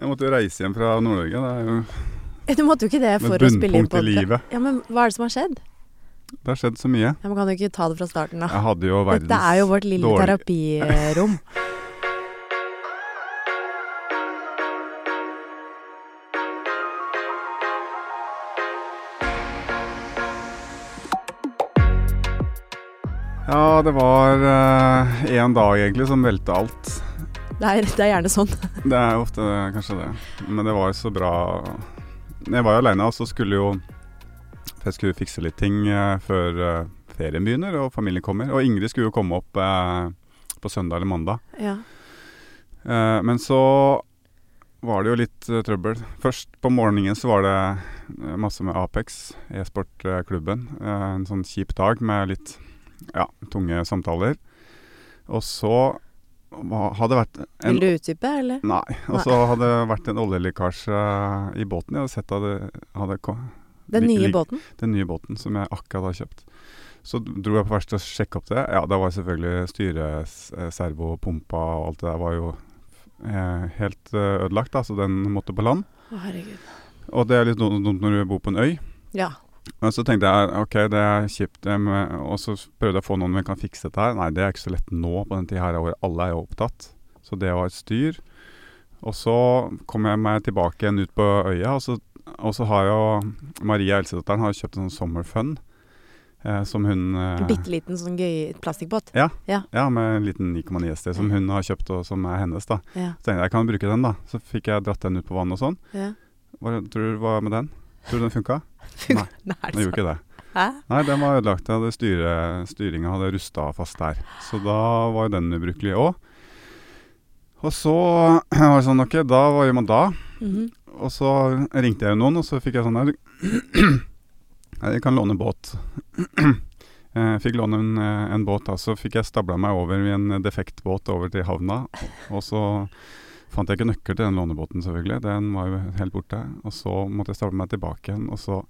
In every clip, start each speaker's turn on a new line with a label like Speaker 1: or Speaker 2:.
Speaker 1: Jeg måtte jo reise hjem fra Nord-Norge. Det er jo
Speaker 2: Du måtte jo ikke det for
Speaker 1: et
Speaker 2: å spille inn
Speaker 1: bunnpunkt i
Speaker 2: podkast.
Speaker 1: livet.
Speaker 2: Ja, men hva er det som har skjedd?
Speaker 1: Det har skjedd så mye.
Speaker 2: Ja, man kan jo ikke ta det fra starten, da.
Speaker 1: Jeg hadde jo verdens
Speaker 2: Ah, Dette er jo vårt lille
Speaker 1: dårlig-
Speaker 2: terapirom.
Speaker 1: Ja, det var én dag egentlig som velta alt.
Speaker 2: Det er, det er gjerne sånn.
Speaker 1: Det er ofte kanskje det. Men det var jo så bra Jeg var jo aleine, og så skulle jo Jeg skulle fikse litt ting eh, før eh, ferien begynner og familien kommer. Og Ingrid skulle jo komme opp eh, på søndag eller mandag.
Speaker 2: Ja.
Speaker 1: Eh, men så var det jo litt eh, trøbbel. Først på morgenen så var det eh, masse med Apex, e-sportklubben. Eh, en sånn kjip dag med litt ja, tunge samtaler. Og så hva- hadde det vært en
Speaker 2: Vil du utdype, eller?
Speaker 1: Nei. Og så hadde det vært en oljelekkasje i båten. Jeg hadde sett at det hadde ko-
Speaker 2: Den
Speaker 1: vi-
Speaker 2: nye
Speaker 1: lik-
Speaker 2: båten?
Speaker 1: den nye båten som jeg akkurat har kjøpt. Så dro jeg på verkstedet og sjekka opp det. Ja, da var selvfølgelig styret, s- eh, servo, pumpa og alt det der var jo eh, helt eh, ødelagt, da, så den måtte på land.
Speaker 2: Å, herregud.
Speaker 1: Og det er litt dum- dumt når du bor på en øy.
Speaker 2: Ja.
Speaker 1: Men så tenkte jeg ok, det er kjipt, eh, men- og så prøvde jeg å få noen som kan fikse dette her. Nei, det er ikke så lett nå på den tida her av året. Alle er jo opptatt. Så det var et styr. Og så kom jeg meg tilbake igjen ut på øya, og så, og så har jo Maria, eldstedatteren, har kjøpt en sånn summer fun. Eh, som hun
Speaker 2: En
Speaker 1: eh,
Speaker 2: bitte liten sånn gøy plastikkbåt?
Speaker 1: Ja, med en liten 9,9 ST som hun har kjøpt, og som er hennes, da.
Speaker 2: Ja.
Speaker 1: Så tenkte jeg jeg kan bruke den, da. Så fikk jeg dratt den ut på vannet og sånn.
Speaker 2: ja.
Speaker 1: Hva tror du hva med den? Tror du den funka?
Speaker 2: Nei, er
Speaker 1: Den
Speaker 2: det sant?
Speaker 1: gjorde ikke det.
Speaker 2: Hæ?
Speaker 1: Nei, den var ødelagt. Jeg hadde styre, styringa hadde rusta fast der. Så da var jo den ubrukelig òg. Og så var det sånn, ok, da hva gjør man da?
Speaker 2: Mhm.
Speaker 1: Og så ringte jeg noen, og så fikk jeg sånn «Nei, du- Nei, Jeg kan låne båt. Jeg fikk låne en, eh, en båt, da. Så fikk jeg stabla meg over i en defekt båt over til havna. Og så fant jeg ikke nøkkel til den lånebåten, selvfølgelig. Den var jo helt borte. Og så måtte jeg stable meg tilbake igjen, og så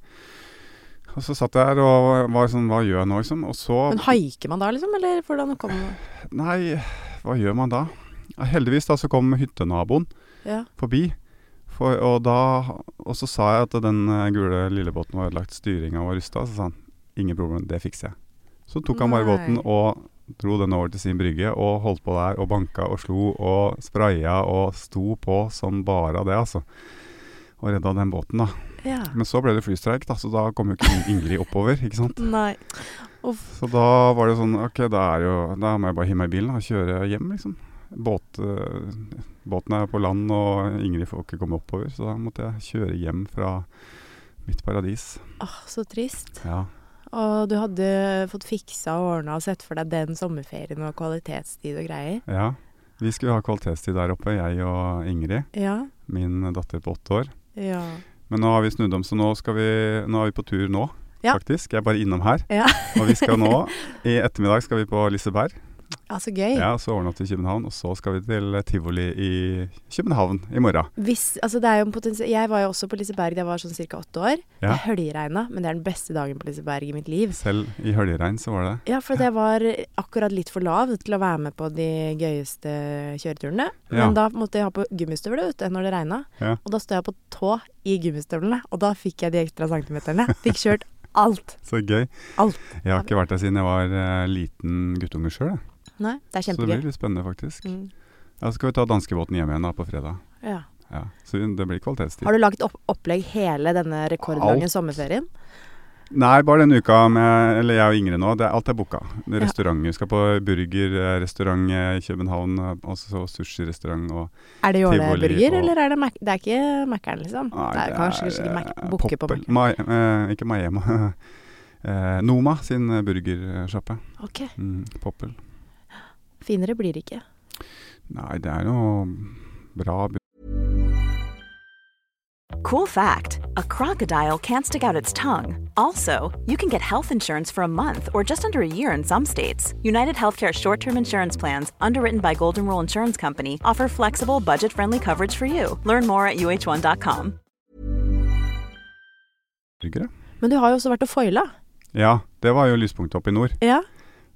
Speaker 1: og så satt jeg her og var sånn Hva gjør jeg nå, liksom? Og så
Speaker 2: Men haiker man da, liksom? Eller hvordan kommer man
Speaker 1: Nei, hva gjør man da? Ja, heldigvis da så kom hyttenaboen
Speaker 2: Ja.
Speaker 1: forbi. For, og, da, og så sa jeg at den eh, gule lillebåten var ødelagt, styringa var rusta. Så sa han ingen problem, det fikser jeg. Så tok han bare
Speaker 2: Nei.
Speaker 1: båten og dro den over til sin brygge og holdt på der og banka og slo og spraya og sto på som bare det, altså. Og redda den båten, da.
Speaker 2: ja.
Speaker 1: Men så ble det flystreik, da, så da kom jo ikke Ingrid oppover, ikke sant.
Speaker 2: Nei. Uff.
Speaker 1: Så da var det sånn Ok, da, er jo, da må jeg bare hive meg i bilen og kjøre hjem, liksom. Båt, eh, båten er på land, og Ingrid får ikke komme oppover. Så da måtte jeg kjøre hjem fra mitt paradis.
Speaker 2: Åh, så trist.
Speaker 1: Ja.
Speaker 2: Og du hadde fått fiksa og ordna og sett for deg den sommerferien og kvalitetstid og greier.
Speaker 1: ja. Vi skulle ha kvalitetstid der oppe, jeg og Ingrid.
Speaker 2: Ja.
Speaker 1: Min datter på åtte år.
Speaker 2: Ja.
Speaker 1: Men nå har vi snudd om, så nå, skal vi, nå er vi på tur nå,
Speaker 2: Ja.
Speaker 1: faktisk. Jeg er bare innom her.
Speaker 2: Ja.
Speaker 1: og vi skal nå, i ettermiddag skal vi på Liseberg.
Speaker 2: ja, så gøy.
Speaker 1: Ja, så overnatte i København. Og så skal vi til tivoli i København i morgen.
Speaker 2: Hvis, altså det er jo en potensi- jeg var jo også på Liseberg da jeg var sånn ca. åtte år.
Speaker 1: Ja.
Speaker 2: Det høljeregna, men det er den beste dagen på Liseberg i mitt liv.
Speaker 1: Selv i høljeregn så var det
Speaker 2: Ja, for at jeg var akkurat litt for lav til å være med på de gøyeste kjøreturene.
Speaker 1: Ja.
Speaker 2: Men da måtte jeg ha på gummistøvler vet du, når det regna.
Speaker 1: Ja.
Speaker 2: Og da stod jeg på tå i gummistøvlene, og da fikk jeg de ekstra centimeterne. Fikk kjørt alt.
Speaker 1: Så gøy.
Speaker 2: Alt.
Speaker 1: Jeg har ikke vært der siden jeg var eh, liten guttunge sjøl.
Speaker 2: Nei, det er
Speaker 1: Så det
Speaker 2: kjempegøy.
Speaker 1: blir litt spennende, faktisk.
Speaker 2: Mm.
Speaker 1: Ja, så skal vi ta danskebåten hjem igjen da på fredag.
Speaker 2: Ja.
Speaker 1: Ja. Så det blir kvalitetstid.
Speaker 2: Har du laget opp opplegg hele denne rekordlange
Speaker 1: Alt.
Speaker 2: sommerferien?
Speaker 1: Nei, bare denne uka med Eller jeg og Ingrid nå. Det, er- alt er booka. Det er
Speaker 2: Ja.
Speaker 1: Restauranter. Vi skal på burgerrestaurant i København. eh, Og så sushirestaurant og
Speaker 2: Er det
Speaker 1: Tivoli
Speaker 2: jåleburger,
Speaker 1: og-
Speaker 2: eller er det Mac? Det er ikke Mac-eren, liksom? det er kanskje ikke Mac.
Speaker 1: eh,
Speaker 2: Bukke på
Speaker 1: Poppel-
Speaker 2: Mac.
Speaker 1: Ma, eh, Ikke Maema. Eh, Noma sin eh, burgersjappe.
Speaker 2: Ok.
Speaker 1: Mm, Poppel.
Speaker 2: Finere blir det ikke.
Speaker 1: Nei, det er noe bra
Speaker 3: Cool fact a crocodile can't stick out its tongue. Also, you can get health insurance for a month or just under a year in some states. United Healthcare short term insurance plans, underwritten by Golden Rule Insurance Company, offer flexible, budget friendly coverage for you. Learn more at uh1.com.
Speaker 1: burgere.
Speaker 2: Men du har jo også vært og foila.
Speaker 1: Ja, det var jo lyspunktet oppe i nord.
Speaker 2: Ja.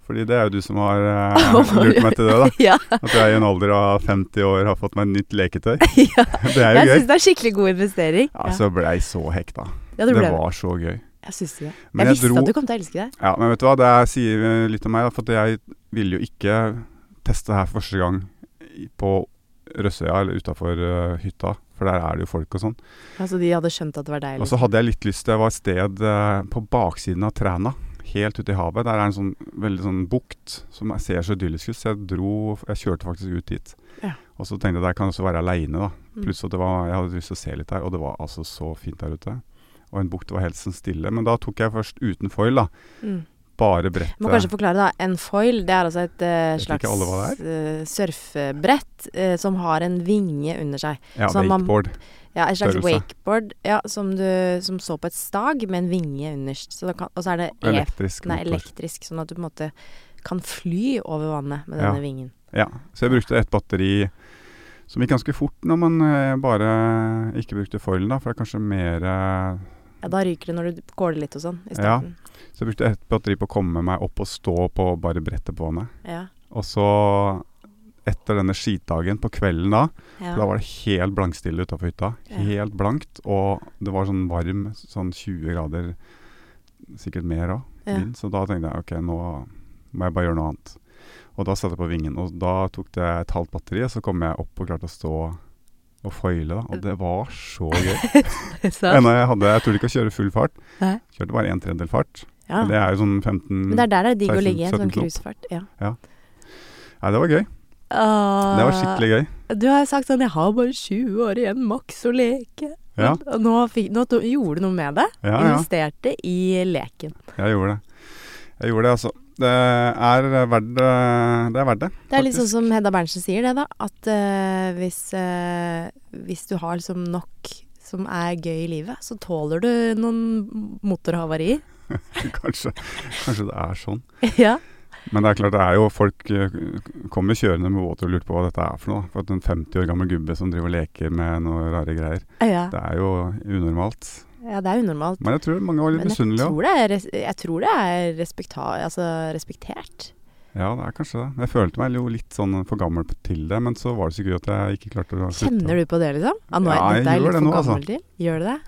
Speaker 1: Fordi det er jo du som har eh, lurt meg til det, da.
Speaker 2: ja.
Speaker 1: At jeg i en alder av 50 år har fått meg nytt leketøy.
Speaker 2: ja.
Speaker 1: Det er jo
Speaker 2: Jeg
Speaker 1: gøy.
Speaker 2: syns det er skikkelig god investering.
Speaker 1: Ja, så ble jeg så hekta. Det
Speaker 2: ja, det ble det.
Speaker 1: var så gøy.
Speaker 2: Jeg syns det.
Speaker 1: Men
Speaker 2: jeg
Speaker 1: jeg
Speaker 2: visste
Speaker 1: dro-
Speaker 2: at du kom til å elske det.
Speaker 1: Ja, men vet du hva, det er- sier eh, litt om meg, da, for at jeg ville jo ikke teste her første gang i- på Røsøya eller utafor hytta, for der er det jo folk og sånn.
Speaker 2: Altså, de hadde skjønt at det var deg.
Speaker 1: Og så hadde jeg litt lyst, det var et sted eh, på baksiden av Træna, helt ute i havet. Der er en sånn veldig sånn bukt som jeg ser så idyllisk ut, så jeg dro, jeg kjørte faktisk ut dit.
Speaker 2: Ja.
Speaker 1: Og så tenkte jeg der kan jeg også være aleine, da.
Speaker 2: Mm.
Speaker 1: Pluss at det var, jeg hadde lyst til å se litt der, og det var altså så fint der ute. Og en bukt var helt sånn stille. Men da tok jeg først uten foil, da.
Speaker 2: Mm.
Speaker 1: Bare brettet.
Speaker 2: Må kanskje forklare, da. En foil, det er altså et eh,
Speaker 1: Jeg vet
Speaker 2: slags
Speaker 1: ikke alle hva
Speaker 2: eh, surfebrett eh, som har en vinge under seg.
Speaker 1: eh, ja,
Speaker 2: sånn man-
Speaker 1: wakeboard.
Speaker 2: Ja, et slags
Speaker 1: Størrelse.
Speaker 2: wakeboard ja, som, du, som står på et stag med en vinge underst. Så da kan, og så er det e
Speaker 1: Elektrisk
Speaker 2: den er
Speaker 1: motor.
Speaker 2: elektrisk, sånn at du på en måte kan fly over vannet med
Speaker 1: Ja.
Speaker 2: denne vingen.
Speaker 1: Ja, så jeg brukte et batteri som gikk ganske fort når man eh, bare ikke brukte foilen, da. For det er kanskje mer eh,
Speaker 2: Ja, da ryker det når du kåler litt og sånn i
Speaker 1: Ja.
Speaker 2: starten.
Speaker 1: Så jeg brukte ett batteri på å komme meg opp og stå på bare brettet på vannet.
Speaker 2: Ja.
Speaker 1: Og så, etter denne skitdagen på kvelden da,
Speaker 2: Ja.
Speaker 1: for da var det helt blankstille utafor hytta.
Speaker 2: Ja.
Speaker 1: Helt blankt, og det var sånn varm, sånn 20 grader, sikkert mer òg,
Speaker 2: Ja.
Speaker 1: så da tenkte jeg ok, nå må jeg bare gjøre noe annet. Og da satte jeg på vingen, og da tok det et halvt batteri, og så kom jeg opp og klarte å stå og foile, da. Og det var så gøy.
Speaker 2: Så-
Speaker 1: Ennå jeg hadde Jeg turte ikke å kjøre full fart.
Speaker 2: Nei.
Speaker 1: Kjørte bare en tredjedel fart.
Speaker 2: ja.
Speaker 1: Det er jo sånn 15
Speaker 2: Men det er der det er digg å
Speaker 1: 16,
Speaker 2: ligge i en
Speaker 1: 17
Speaker 2: sånn
Speaker 1: knop.
Speaker 2: cruisefart. Ja.
Speaker 1: Nei, det var gøy. Det var skikkelig gøy.
Speaker 2: Du har sagt sånn 'jeg har bare 20 år igjen, maks å leke'.
Speaker 1: Ja,
Speaker 2: Og nå, fikk, nå to, gjorde du noe med det.
Speaker 1: ja, ja.
Speaker 2: Investerte i leken.
Speaker 1: Jeg gjorde det. Jeg gjorde det, altså. Det er verdt det. Det er verdt det.
Speaker 2: Det er litt
Speaker 1: Faktisk.
Speaker 2: sånn som Hedda Berntsen sier det, da. At eh, hvis, eh, hvis du har liksom nok som er gøy i livet, så tåler du noen motorhavarier.
Speaker 1: Kanskje, kanskje det er sånn.
Speaker 2: ja.
Speaker 1: Men det er klart, det er jo folk eh, kommer kjørende med båt og lurer på hva dette er for noe. For at en 50 år gammel gubbe som driver og leker med noen rare greier.
Speaker 2: Ja.
Speaker 1: Det er jo unormalt.
Speaker 2: ja, det er unormalt.
Speaker 1: Men jeg tror mange var litt
Speaker 2: Men jeg
Speaker 1: misunnelige òg.
Speaker 2: tror det er, res- jeg tror det er respekta, altså respektert.
Speaker 1: Ja, det er kanskje det. Jeg følte meg jo litt sånn for gammel til det, men så var det så gøy at jeg ikke klarte å slutte.
Speaker 2: Kjenner du på det, liksom? Ah, nå er,
Speaker 1: Ja, jeg
Speaker 2: dette
Speaker 1: gjør
Speaker 2: er litt
Speaker 1: det
Speaker 2: for
Speaker 1: nå, altså.
Speaker 2: gammel til. Gjør du det?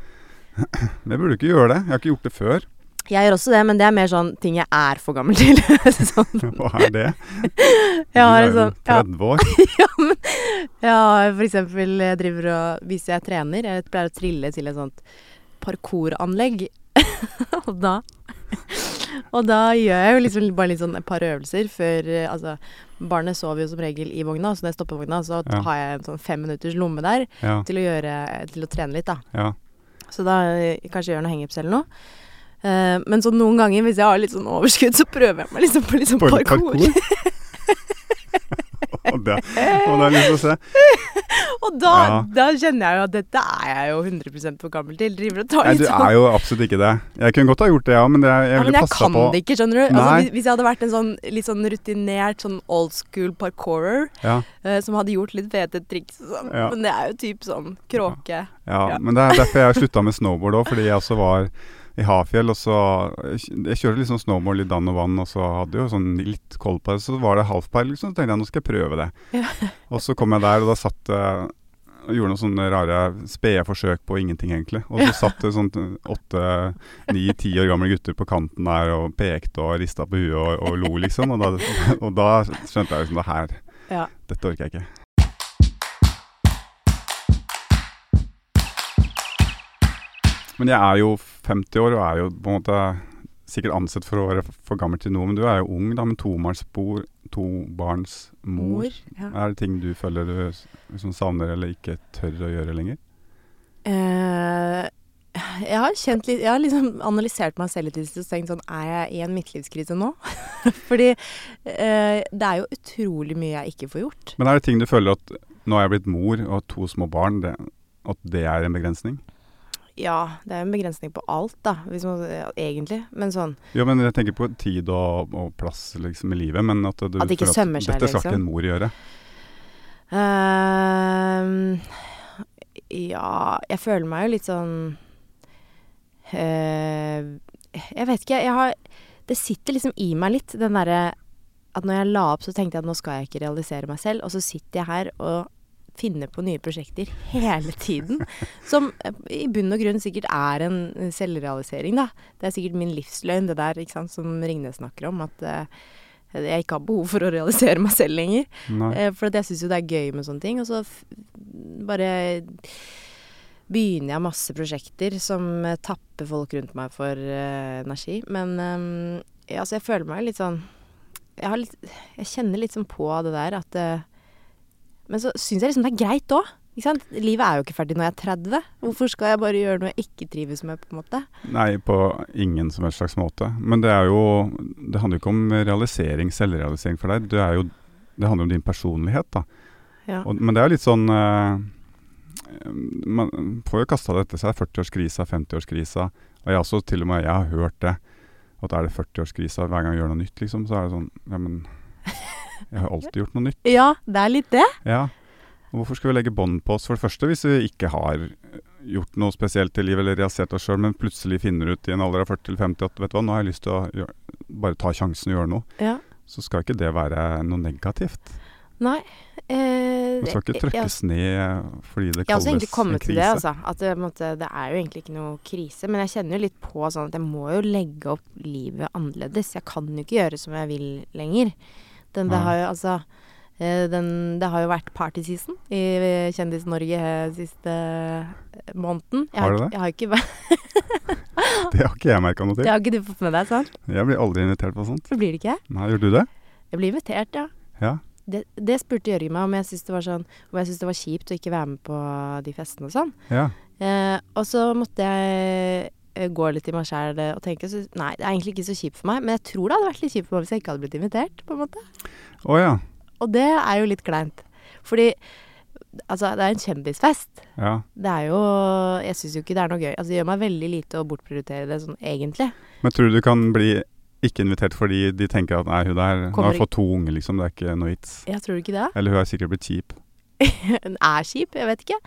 Speaker 1: Men jeg burde ikke gjøre det. Jeg har ikke gjort det før.
Speaker 2: Jeg gjør også det, men det er mer sånn ting jeg er for gammel til. sånn.
Speaker 1: Hva er det?
Speaker 2: Jeg har
Speaker 1: du er
Speaker 2: en
Speaker 1: jo
Speaker 2: sånn ja,
Speaker 1: 30 år.
Speaker 2: ja, men jeg har for eksempel jeg driver og Hvis jeg trener, jeg pleier å trille til et sånt parkouranlegg. og da Og da gjør jeg jo liksom bare litt sånn et par øvelser før eh, Altså, barnet sover jo som regel i vogna, så når jeg stopper vogna, så
Speaker 1: Ja.
Speaker 2: har jeg en sånn fem minutters lomme der
Speaker 1: Ja,
Speaker 2: til å gjøre Til å trene litt, da.
Speaker 1: ja.
Speaker 2: Så da eh, kanskje gjør noe hangups eller noe. Eh, men så noen ganger, hvis jeg har litt sånn overskudd, så prøver jeg meg liksom på litt sånn
Speaker 1: Par-
Speaker 2: parkour.
Speaker 1: Og det, og det har jeg lyst til å se.
Speaker 2: Og da,
Speaker 1: Ja.
Speaker 2: da kjenner jeg jo at dette er jeg jo 100 for gammel til. Driver og tar
Speaker 1: Nei,
Speaker 2: litt
Speaker 1: du
Speaker 2: sånn
Speaker 1: er jo absolutt ikke det. Jeg kunne godt ha gjort det, ja, men det, jeg
Speaker 2: ja, men
Speaker 1: ville
Speaker 2: jeg
Speaker 1: passa
Speaker 2: kan
Speaker 1: på.
Speaker 2: det ikke, skjønner du. Altså,
Speaker 1: Nei.
Speaker 2: hvis- hvis jeg hadde vært en sånn litt sånn rutinert sånn old school parkourer
Speaker 1: Ja,
Speaker 2: eh, som hadde gjort litt fete triks og sånn,
Speaker 1: Ja.
Speaker 2: men det er jo typ sånn kråke.
Speaker 1: ja,
Speaker 2: Ja.
Speaker 1: men det er derfor jeg slutta med snowboard òg, fordi jeg også var i Hafjell, og så Jeg kjørte liksom snowboard i dann og vann, og så hadde jeg jo sånn litt koll på det. Så var det halfpile, liksom, så tenkte jeg nå skal jeg prøve det.
Speaker 2: Ja.
Speaker 1: Og så kom jeg der, og da satt det og gjorde noen sånne rare spede forsøk på ingenting, egentlig. Og så satt det sånn åtte, ni, ti år gamle gutter på kanten der og pekte og rista på huet og, og lo, liksom. Og da, og da skjønte jeg liksom det her
Speaker 2: Ja.
Speaker 1: Dette orker jeg ikke. Men jeg er jo 50 år og er jo på en måte sikkert ansett for å være f- for gammel til noe. Men du er jo ung, da, med tobarnsmor. Tobarnsmor.
Speaker 2: Ja.
Speaker 1: Er det ting du føler du s- liksom savner eller ikke tør å gjøre lenger?
Speaker 2: Eh, jeg har kjent litt Jeg har liksom analysert meg selv litt i det siste og tenkt sånn Er jeg i en midtlivskrise nå? Fordi eh, det er jo utrolig mye jeg ikke får gjort.
Speaker 1: Men er det ting du føler at nå er jeg blitt mor og har to små barn, det, at det er en begrensning?
Speaker 2: Ja, det er jo en begrensning på alt, da, hvis man, ja, egentlig. Men sånn
Speaker 1: Jo, men jeg tenker på tid og, og plass liksom i livet, men at du
Speaker 2: At det ikke
Speaker 1: føler
Speaker 2: sømmer
Speaker 1: at
Speaker 2: seg,
Speaker 1: dette skal
Speaker 2: liksom.
Speaker 1: ikke en mor gjøre.
Speaker 2: ehm, Ja, jeg føler meg jo litt sånn eh, Jeg vet ikke, jeg har Det sitter liksom i meg litt, den derre at når jeg la opp, så tenkte jeg at nå skal jeg ikke realisere meg selv. Og så sitter jeg her og finner på nye prosjekter hele tiden. Som eh, i bunn og grunn sikkert er en selvrealisering, da. Det er sikkert min livsløgn, det der ikke sant, som Ringnes snakker om. At eh, jeg ikke har behov for å realisere meg selv lenger.
Speaker 1: Nei.
Speaker 2: Eh, For at jeg syns jo det er gøy med sånne ting. Og så f bare begynner jeg masse prosjekter som eh, tapper folk rundt meg for eh, energi. Men eh, ja, altså jeg føler meg jo litt sånn Jeg, har litt, jeg kjenner litt sånn på det der at eh, Men så syns jeg liksom det er greit òg. Ikke sant? Livet er jo ikke ferdig når jeg er 30. Hvorfor skal jeg bare gjøre noe jeg ikke trives med, på en måte?
Speaker 1: Nei, på ingen som helst slags måte. Men det er jo Det handler jo ikke om realisering, selvrealisering for deg. Det, er jo, det handler om din personlighet, da.
Speaker 2: Ja.
Speaker 1: Og, men det er jo litt sånn eh, Man får jo kasta det etter seg. 40-årskrisa, 50-årskrisa. Og jeg også, til og med jeg har hørt det. At er det 40-årskrisa hver gang jeg gjør noe nytt, liksom, så er det sånn Ja, men jeg har alltid gjort noe nytt.
Speaker 2: ja, det er litt det.
Speaker 1: Ja. Og hvorfor skal vi legge bånd på oss, for det første, hvis vi ikke har gjort noe spesielt i livet eller realisert oss sjøl, men plutselig finner ut i en alder av 40 eller 50 at vet du hva, nå har jeg lyst til å gjøre, bare ta sjansen og gjøre noe,
Speaker 2: Ja.
Speaker 1: så skal ikke det være noe negativt.
Speaker 2: Nei. Eh,
Speaker 1: Man skal ikke
Speaker 2: jeg- jeg-
Speaker 1: trøkkes ned fordi det
Speaker 2: Jeg har også
Speaker 1: kalles
Speaker 2: egentlig
Speaker 1: en
Speaker 2: kommet til det,
Speaker 1: krise.
Speaker 2: altså. At det, på en måte, det er jo egentlig ikke noe krise. Men jeg kjenner jo litt på sånn at jeg må jo legge opp livet annerledes. Jeg kan jo ikke gjøre som jeg vil lenger. Den, det,
Speaker 1: Nei.
Speaker 2: har jo, altså, eh, den, det har jo vært partyseason i Kjendis-Norge eh, siste eh, måneden. Jeg
Speaker 1: Har det
Speaker 2: har, ikke-
Speaker 1: det?
Speaker 2: Jeg har ikke, vært-
Speaker 1: Det har ikke jeg merka noe
Speaker 2: det
Speaker 1: til.
Speaker 2: har ikke du fått med deg, sant?
Speaker 1: Jeg blir aldri invitert på sånt.
Speaker 2: Så blir det ikke jeg.
Speaker 1: Nei, gjør du det?
Speaker 2: Jeg blir invitert, ja.
Speaker 1: Ja.
Speaker 2: Det, det spurte Jørgen meg om jeg syntes det var sånn Om jeg syntes det var kjipt å ikke være med på de festene og sånn.
Speaker 1: ja.
Speaker 2: Eh, og så måtte jeg eh, gå litt i meg sjæl og tenke så, Nei, det er egentlig ikke så kjipt for meg, men jeg tror det hadde vært litt kjipt for meg hvis jeg ikke hadde blitt invitert, på en måte.
Speaker 1: Å ja.
Speaker 2: Og det er jo litt kleint. Fordi altså, det er en kjendisfest.
Speaker 1: Ja.
Speaker 2: Det er jo Jeg syns jo ikke det er noe gøy. Altså, det gjør meg veldig lite å bortprioritere det sånn egentlig.
Speaker 1: Men tror du du kan bli ikke invitert fordi de tenker at nei, hun der Nå
Speaker 2: Kommer
Speaker 1: har
Speaker 2: ikke-
Speaker 1: jeg fått to unger, liksom. Det er ikke noe vits.
Speaker 2: Jeg tror ikke det.
Speaker 1: Eller hun er sikkert blitt kjip.
Speaker 2: Den er kjip, jeg vet ikke.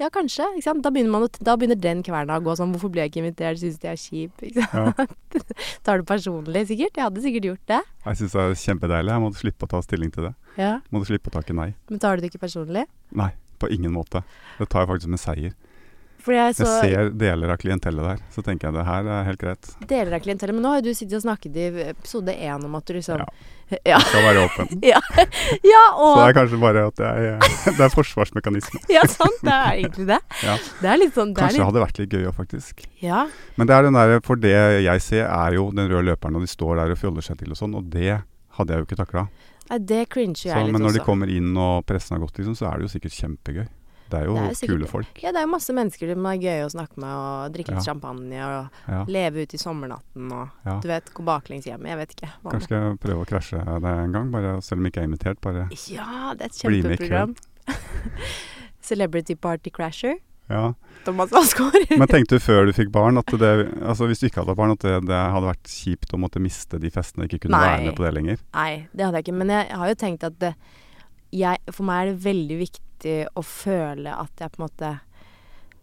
Speaker 2: Ja, kanskje. Ikke sant? Da, begynner man å, da begynner den kverna å gå sånn Hvorfor ble jeg ikke invitert? Syns de jeg er kjip? Ikke
Speaker 1: Ja.
Speaker 2: sant? Tar det personlig, sikkert. Jeg hadde sikkert gjort det.
Speaker 1: Jeg syns det er kjempedeilig. Jeg måtte slippe å ta stilling til det.
Speaker 2: Ja.
Speaker 1: Måtte slippe å takke nei.
Speaker 2: Men tar du det ikke personlig?
Speaker 1: Nei, på ingen måte. Det tar jeg faktisk som en seier.
Speaker 2: Fordi jeg så
Speaker 1: jeg ser deler av klientellet der, så tenker jeg det her er helt greit.
Speaker 2: deler av klientellet, men nå har jo du sittet og snakket i episode én om at du liksom
Speaker 1: Ja.
Speaker 2: Ja,
Speaker 1: Skal være åpen.
Speaker 2: ja, ja
Speaker 1: Så det
Speaker 2: og
Speaker 1: er kanskje bare at jeg, det er forsvarsmekanisme.
Speaker 2: Ja, sant, det er egentlig det.
Speaker 1: Ja.
Speaker 2: Det er litt sånn det
Speaker 1: Kanskje det
Speaker 2: er litt,
Speaker 1: hadde vært litt gøy òg, faktisk.
Speaker 2: Ja.
Speaker 1: Men det er den der, for det jeg ser, er jo den røde løperen, og de står der og fjoller seg til og sånn, og det hadde jeg jo ikke takla.
Speaker 2: Nei, det cringer jeg litt
Speaker 1: Men når de
Speaker 2: også.
Speaker 1: kommer inn og pressen har gått, liksom, så er det jo sikkert kjempegøy. Det er jo,
Speaker 2: Det er jo sikkert
Speaker 1: kule folk.
Speaker 2: Ja, det er jo masse mennesker det er gøy å snakke med, og drikke litt
Speaker 1: Ja.
Speaker 2: champagne, og
Speaker 1: Ja,
Speaker 2: leve ut i sommernatten, og
Speaker 1: ja.
Speaker 2: du vet, gå baklengs hjem. Jeg vet ikke. hva
Speaker 1: Kanskje skal
Speaker 2: sånn.
Speaker 1: jeg prøve å krasje det en gang, bare, selv om jeg ikke er invitert. Bare
Speaker 2: man- Ja, det er et
Speaker 1: Bli med i
Speaker 2: kjempeprogram. Celebrity Party Crasher.
Speaker 1: ja.
Speaker 2: Thomas Alsgaard.
Speaker 1: Men tenkte du før du fikk barn, at det, altså hvis du ikke hadde hatt barn, at det, det hadde vært kjipt å måtte miste de festene, ikke kunne
Speaker 2: Nei.
Speaker 1: være med på det lenger?
Speaker 2: Nei, det hadde jeg ikke. Men jeg har jo tenkt at det, jeg, for meg er det veldig viktig å føle at jeg på en måte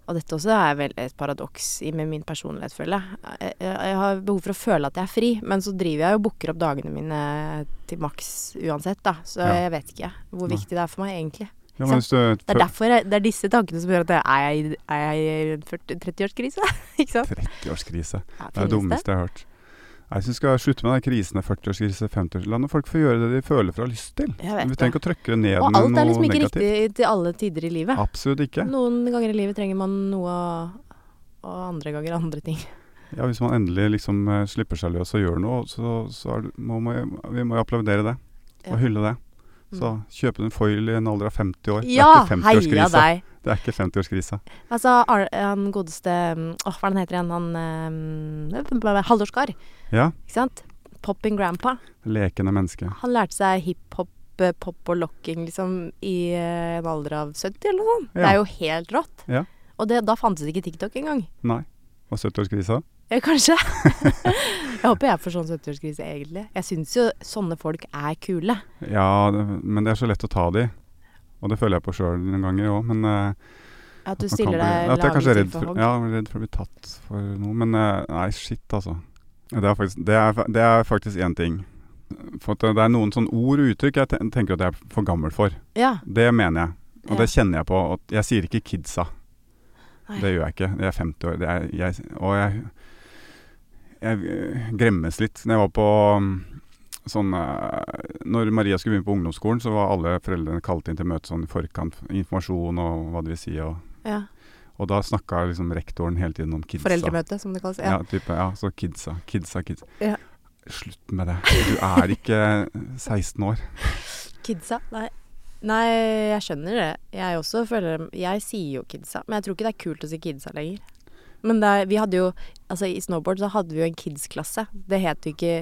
Speaker 2: Og dette også er vel et paradoks i- med min personlighet, føler jeg. jeg. Jeg har behov for å føle at jeg er fri, men så driver jeg og booker opp dagene mine til maks uansett, da. Så
Speaker 1: Ja.
Speaker 2: jeg vet ikke hvor
Speaker 1: Nei.
Speaker 2: viktig det er for meg, egentlig.
Speaker 1: Ja, men hvis du,
Speaker 2: Det er derfor jeg, det er disse tankene som gjør at jeg er jeg i- er jeg i en 40 30-årskrise, ikke sant?
Speaker 1: 30-årskrise.
Speaker 2: Ja,
Speaker 1: Det er det
Speaker 2: finnes
Speaker 1: dummeste jeg har hørt. Jeg syns vi skal slutte med den krisen av 40-årskrise, 50-årskrise. La nå folk få gjøre det de føler for og har lyst til.
Speaker 2: Jeg vet
Speaker 1: Vi
Speaker 2: det.
Speaker 1: trenger ikke å trykke det ned
Speaker 2: Og
Speaker 1: med
Speaker 2: alt er
Speaker 1: noe
Speaker 2: liksom ikke
Speaker 1: negativt.
Speaker 2: riktig til alle tider i livet.
Speaker 1: Absolutt ikke.
Speaker 2: Noen ganger i livet trenger man noe, og andre ganger andre ting.
Speaker 1: Ja, Hvis man endelig liksom eh, slipper seg løs og gjør noe, så, så er, det- må man, vi må jo applaudere det.
Speaker 2: Ja. Mm.
Speaker 1: Og hylle det. Så kjøpe en foil i en alder av 50 år.
Speaker 2: Ja,
Speaker 1: det er ikke
Speaker 2: heia
Speaker 1: 50-årskrise.
Speaker 2: deg!
Speaker 1: Det er ikke 50-årskrise.
Speaker 2: Altså, Ar han godeste mm, Åh, hva er det han heter igjen? Han um, Halldorskar,
Speaker 1: Ja.
Speaker 2: ikke sant? Popping Grandpa.
Speaker 1: Lekende menneske.
Speaker 2: Han lærte seg hiphop, eh, pop og locking liksom i eh, en alder av 70 eller noe sånt. Det
Speaker 1: Ja.
Speaker 2: er jo helt rått.
Speaker 1: Ja.
Speaker 2: Og det, da fantes ikke TikTok engang.
Speaker 1: Nei. Og 70-årskrisa?
Speaker 2: Ja, kanskje. jeg håper jeg får sånn 70-årskrise, egentlig. Jeg syns jo sånne folk er kule.
Speaker 1: Ja, det, men det er så lett å ta de. Og det føler jeg på sjøl noen ganger òg, men eh,
Speaker 2: At du
Speaker 1: man kan
Speaker 2: stiller
Speaker 1: bli-
Speaker 2: deg
Speaker 1: at jeg kanskje er
Speaker 2: laget
Speaker 1: redd
Speaker 2: til for
Speaker 1: for,
Speaker 2: hogg.
Speaker 1: ja, jeg er redd for å bli tatt for noe. Men eh, nei, shit, altså. Ja, Det er faktisk, det er, fa- det er faktisk én ting For at det er noen sånne ord og uttrykk jeg ten- tenker at jeg er for gammel for.
Speaker 2: Ja.
Speaker 1: Det mener jeg, og
Speaker 2: Ja.
Speaker 1: det kjenner jeg på. at jeg sier ikke 'kidsa'.
Speaker 2: Nei.
Speaker 1: Det gjør jeg ikke. Jeg er 50 år. Det er, jeg, og jeg, jeg eh, gremmes litt. Når jeg var på mm, sånn eh, Når Maria skulle begynne på ungdomsskolen, så var alle foreldrene kalt inn til møte sånn i forkant. Informasjon og hva det vil si. Og,
Speaker 2: ja.
Speaker 1: og da snakka liksom rektoren hele tiden om kidsa.
Speaker 2: Foreldremøte, som det kalles.
Speaker 1: Ja,
Speaker 2: Ja.
Speaker 1: type, ja så kidsa, kidsa, kidsa.
Speaker 2: Ja.
Speaker 1: Slutt med det. Du er ikke 16 år.
Speaker 2: Kidsa? Nei. Nei, jeg skjønner det. Jeg også føler Jeg sier jo kidsa, men jeg tror ikke det er kult å si kidsa lenger. Men det er, vi hadde jo Altså, i snowboard så hadde vi jo en kids-klasse. Det het jo ikke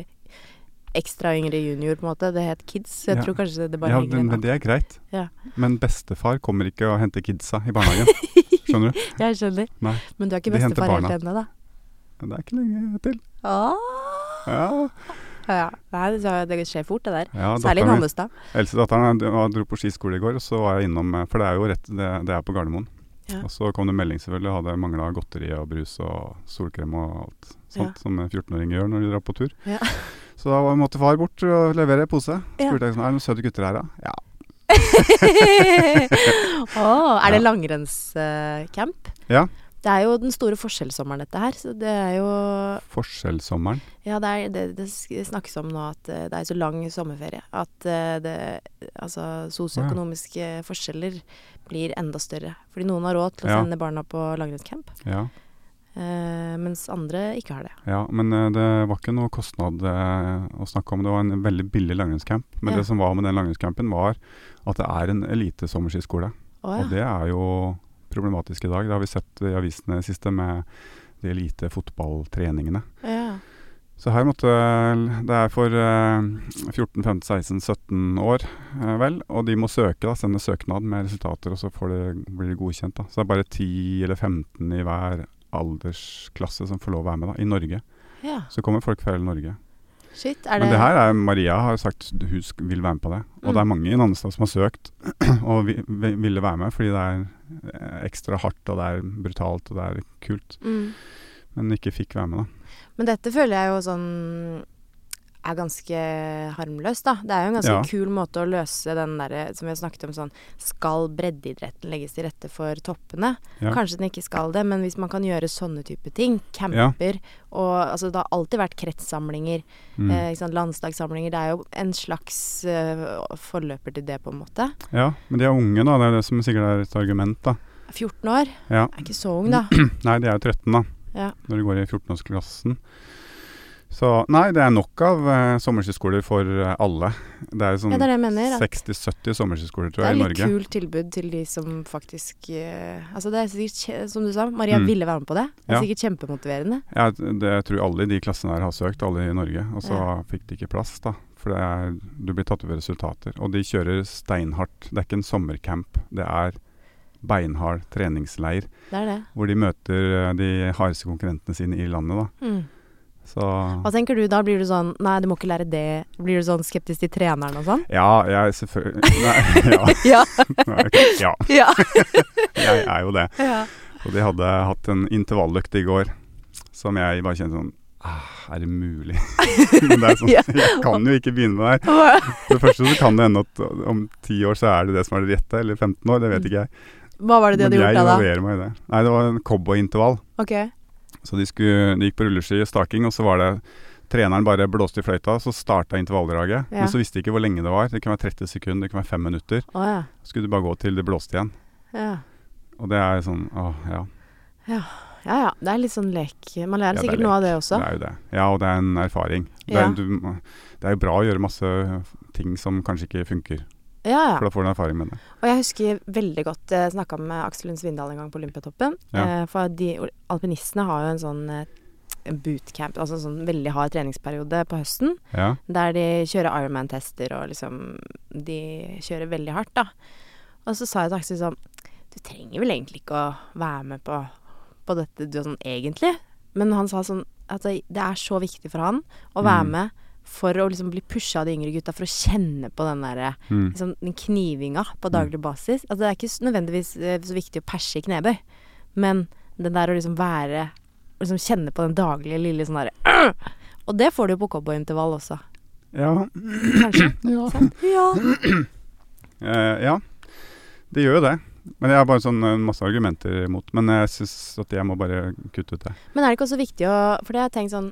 Speaker 2: ekstra yngre junior, på en måte. Det het kids. Så
Speaker 1: Ja.
Speaker 2: jeg tror kanskje det, det bare
Speaker 1: Ja,
Speaker 2: henger
Speaker 1: men, men
Speaker 2: igjen.
Speaker 1: det er greit.
Speaker 2: Ja.
Speaker 1: Men bestefar kommer ikke og henter kidsa i barnehagen. Skjønner du?
Speaker 2: Jeg skjønner.
Speaker 1: Nei.
Speaker 2: Men du er ikke
Speaker 1: De henter
Speaker 2: bestefar helt
Speaker 1: barna.
Speaker 2: ennå, da?
Speaker 1: Det er ikke lenge til.
Speaker 2: Åh.
Speaker 1: Ja,
Speaker 2: Ja. Nei, det det skjer fort, det der.
Speaker 1: ja
Speaker 2: Særlig
Speaker 1: datteren
Speaker 2: i
Speaker 1: min-
Speaker 2: Nannestad.
Speaker 1: Eldstedatteren eh, dro- dro på skiskole i går, og så var jeg innom eh, For det er jo rett, det, det er på Gardermoen.
Speaker 2: Ja.
Speaker 1: Og så kom det melding, selvfølgelig. Hadde mangla godteri og brus og solkrem og alt sånt
Speaker 2: Ja.
Speaker 1: som en 14-åring gjør når de drar på tur.
Speaker 2: Ja.
Speaker 1: Så da var- måtte far bort og levere pose.
Speaker 2: Ja.
Speaker 1: Spurte jeg sånn, er det noen søte gutter her, da? Ja.
Speaker 2: Åh, er det
Speaker 1: Ja.
Speaker 2: langrennscamp?
Speaker 1: Ja.
Speaker 2: Det er jo den store forskjellssommeren, dette her. Så det er jo
Speaker 1: Forskjellssommeren.
Speaker 2: Ja, det, er, det, det sk- snakkes om nå at eh, det er så lang sommerferie at eh, det, altså, sosioøkonomiske forskjeller blir enda større. Fordi noen har råd til å
Speaker 1: Ja.
Speaker 2: sende barna på langrennscamp,
Speaker 1: Ja.
Speaker 2: eh, mens andre ikke har det.
Speaker 1: ja. Men eh, det var ikke noe kostnad eh, å snakke om. Det var en veldig billig langrennscamp. Men
Speaker 2: Ja.
Speaker 1: det som var med den langrennscampen, var at det er en elitesommerskiskole.
Speaker 2: Å
Speaker 1: Og
Speaker 2: ja.
Speaker 1: det er jo problematisk i dag. Det har vi sett i avisene i det siste med de elite fotballtreningene.
Speaker 2: ja.
Speaker 1: Så her måtte Det er for eh, 14, 15, 16, 17 år, eh, vel. Og de må søke, da. Sende søknad med resultater, og så får det, blir det godkjent, da. Så det er bare 10 eller 15 i hver aldersklasse som får lov å være med, da. I Norge.
Speaker 2: ja.
Speaker 1: Så kommer folk fra hele Norge.
Speaker 2: Shit. Er det,
Speaker 1: Men det her er Maria har sagt hun sk- vil være med på det. Og det er
Speaker 2: Mm.
Speaker 1: mange i Nannestad som har søkt og vi, vi, ville være med fordi det er eh, ekstra hardt og det er brutalt og det er kult.
Speaker 2: mm.
Speaker 1: Men ikke fikk være med, da.
Speaker 2: Men dette føler jeg jo sånn er ganske harmløst, da. Det er jo en ganske
Speaker 1: Ja.
Speaker 2: kul måte å løse den derre som vi har snakket om sånn Skal breddeidretten legges til rette for toppene?
Speaker 1: Ja.
Speaker 2: Kanskje den ikke skal det, men hvis man kan gjøre sånne type ting, camper og altså Det har alltid vært kretssamlinger,
Speaker 1: Mm.
Speaker 2: eh, ikke sant, landslagssamlinger. Det er jo en slags eh, forløper til det, på en måte.
Speaker 1: Ja, men de er unge, da. Det er det som sikkert er et argument, da.
Speaker 2: 14 år
Speaker 1: Ja. Mm.
Speaker 2: er ikke så ung, da.
Speaker 1: Nei, de er jo 13, da.
Speaker 2: Ja.
Speaker 1: Når de går i 14-årsklassen. Så nei, det er nok av eh, sommerskiskoler for eh, alle. Det er jo
Speaker 2: Ja,
Speaker 1: sånn
Speaker 2: det er det jeg mener. at-
Speaker 1: 60-70 sommerskiskoler,
Speaker 2: Det
Speaker 1: tror
Speaker 2: er
Speaker 1: jeg, i
Speaker 2: litt
Speaker 1: Norge.
Speaker 2: kult tilbud til de som faktisk eh, Altså det er sikkert, kje- som du sa, Maria
Speaker 1: Mm.
Speaker 2: ville være med på det. Det er
Speaker 1: Ja.
Speaker 2: sikkert kjempemotiverende.
Speaker 1: Ja, det jeg tror alle i de klassene her har søkt, alle i Norge. Og så
Speaker 2: Ja.
Speaker 1: fikk de ikke plass, da. For det er, du blir tatt over resultater. Og de kjører steinhardt. Det er ikke en sommercamp. Det er beinhard treningsleir
Speaker 2: Det er det.
Speaker 1: hvor de møter eh, de hardeste konkurrentene sine i landet, da.
Speaker 2: Mm.
Speaker 1: Så
Speaker 2: Hva tenker du da? Blir du sånn Nei, du må ikke lære det. Blir du sånn skeptisk til treneren og sånn?
Speaker 1: Ja, jeg selvfølgelig Nei, ja.
Speaker 2: Ja.
Speaker 1: Nei, ok. ja.
Speaker 2: ja.
Speaker 1: Jeg er jo det.
Speaker 2: ja.
Speaker 1: Og de hadde hatt en intervalløkt i går som jeg bare kjente sånn ah, Er det mulig? Men det er sånn,
Speaker 2: Ja.
Speaker 1: jeg kan jo ikke begynne med det her. For det første så kan det hende at uh, om ti år så er det det som er det rette, eller 15 år, det vet ikke jeg.
Speaker 2: Mm. Hva var det de
Speaker 1: Men
Speaker 2: hadde
Speaker 1: jeg
Speaker 2: gjort da, da?
Speaker 1: involverer meg i det. Nei, det var en cowboyintervall.
Speaker 2: Ok.
Speaker 1: Så de, skulle, de gikk på rulleski og staking, og så var det Treneren bare blåste i fløyta, så starta intervalldraget.
Speaker 2: Ja.
Speaker 1: Men så visste de ikke hvor lenge det var. Det kunne være 30 sekunder, det kunne være 5 minutter.
Speaker 2: Å ja.
Speaker 1: Så skulle du bare gå til det blåste igjen.
Speaker 2: ja.
Speaker 1: Og det er sånn åh, ja.
Speaker 2: Ja ja, det er litt sånn lek. Man
Speaker 1: Ja,
Speaker 2: lærer
Speaker 1: det er
Speaker 2: sikkert noe av det også.
Speaker 1: Det er jo det. Ja, og det er en erfaring. Det,
Speaker 2: Ja.
Speaker 1: er, du, det er jo bra å gjøre masse øh, ting som kanskje ikke funker,
Speaker 2: Ja ja.
Speaker 1: for da får du en erfaring med det.
Speaker 2: Og jeg husker veldig godt Jeg snakka med Aksel Lund Svindal en gang på Olympiatoppen.
Speaker 1: Ja.
Speaker 2: Eh, for de alpinistene har jo en sånn eh, bootcamp, altså en sånn veldig hard treningsperiode på høsten.
Speaker 1: Ja.
Speaker 2: Der de kjører Ironman-tester og liksom De kjører veldig hardt, da. Og så sa jeg til Aksel sånn Du trenger vel egentlig ikke å være med på, på dette du sånn egentlig. Men han sa sånn at det er så viktig for han å være
Speaker 1: Mm.
Speaker 2: med for å liksom bli pusha av de yngre gutta, for å kjenne på den derre
Speaker 1: Mm.
Speaker 2: liksom, den knivinga på daglig basis. Altså, det er ikke s- nødvendigvis eh, så viktig å perse i knebøy, men den der å liksom være Liksom kjenne på den daglige lille sånn derre «Åh!» Og det får du jo på cowboyintervall også.
Speaker 1: Ja.
Speaker 2: Kanskje.
Speaker 1: Ja.
Speaker 2: Sant? Ja.
Speaker 1: Eh, ja, det gjør jo det. Men jeg har bare sånn eh, masse argumenter imot. Men jeg syns at jeg må bare kutte ut det.
Speaker 2: Men er det ikke også viktig å For det har jeg tenkt sånn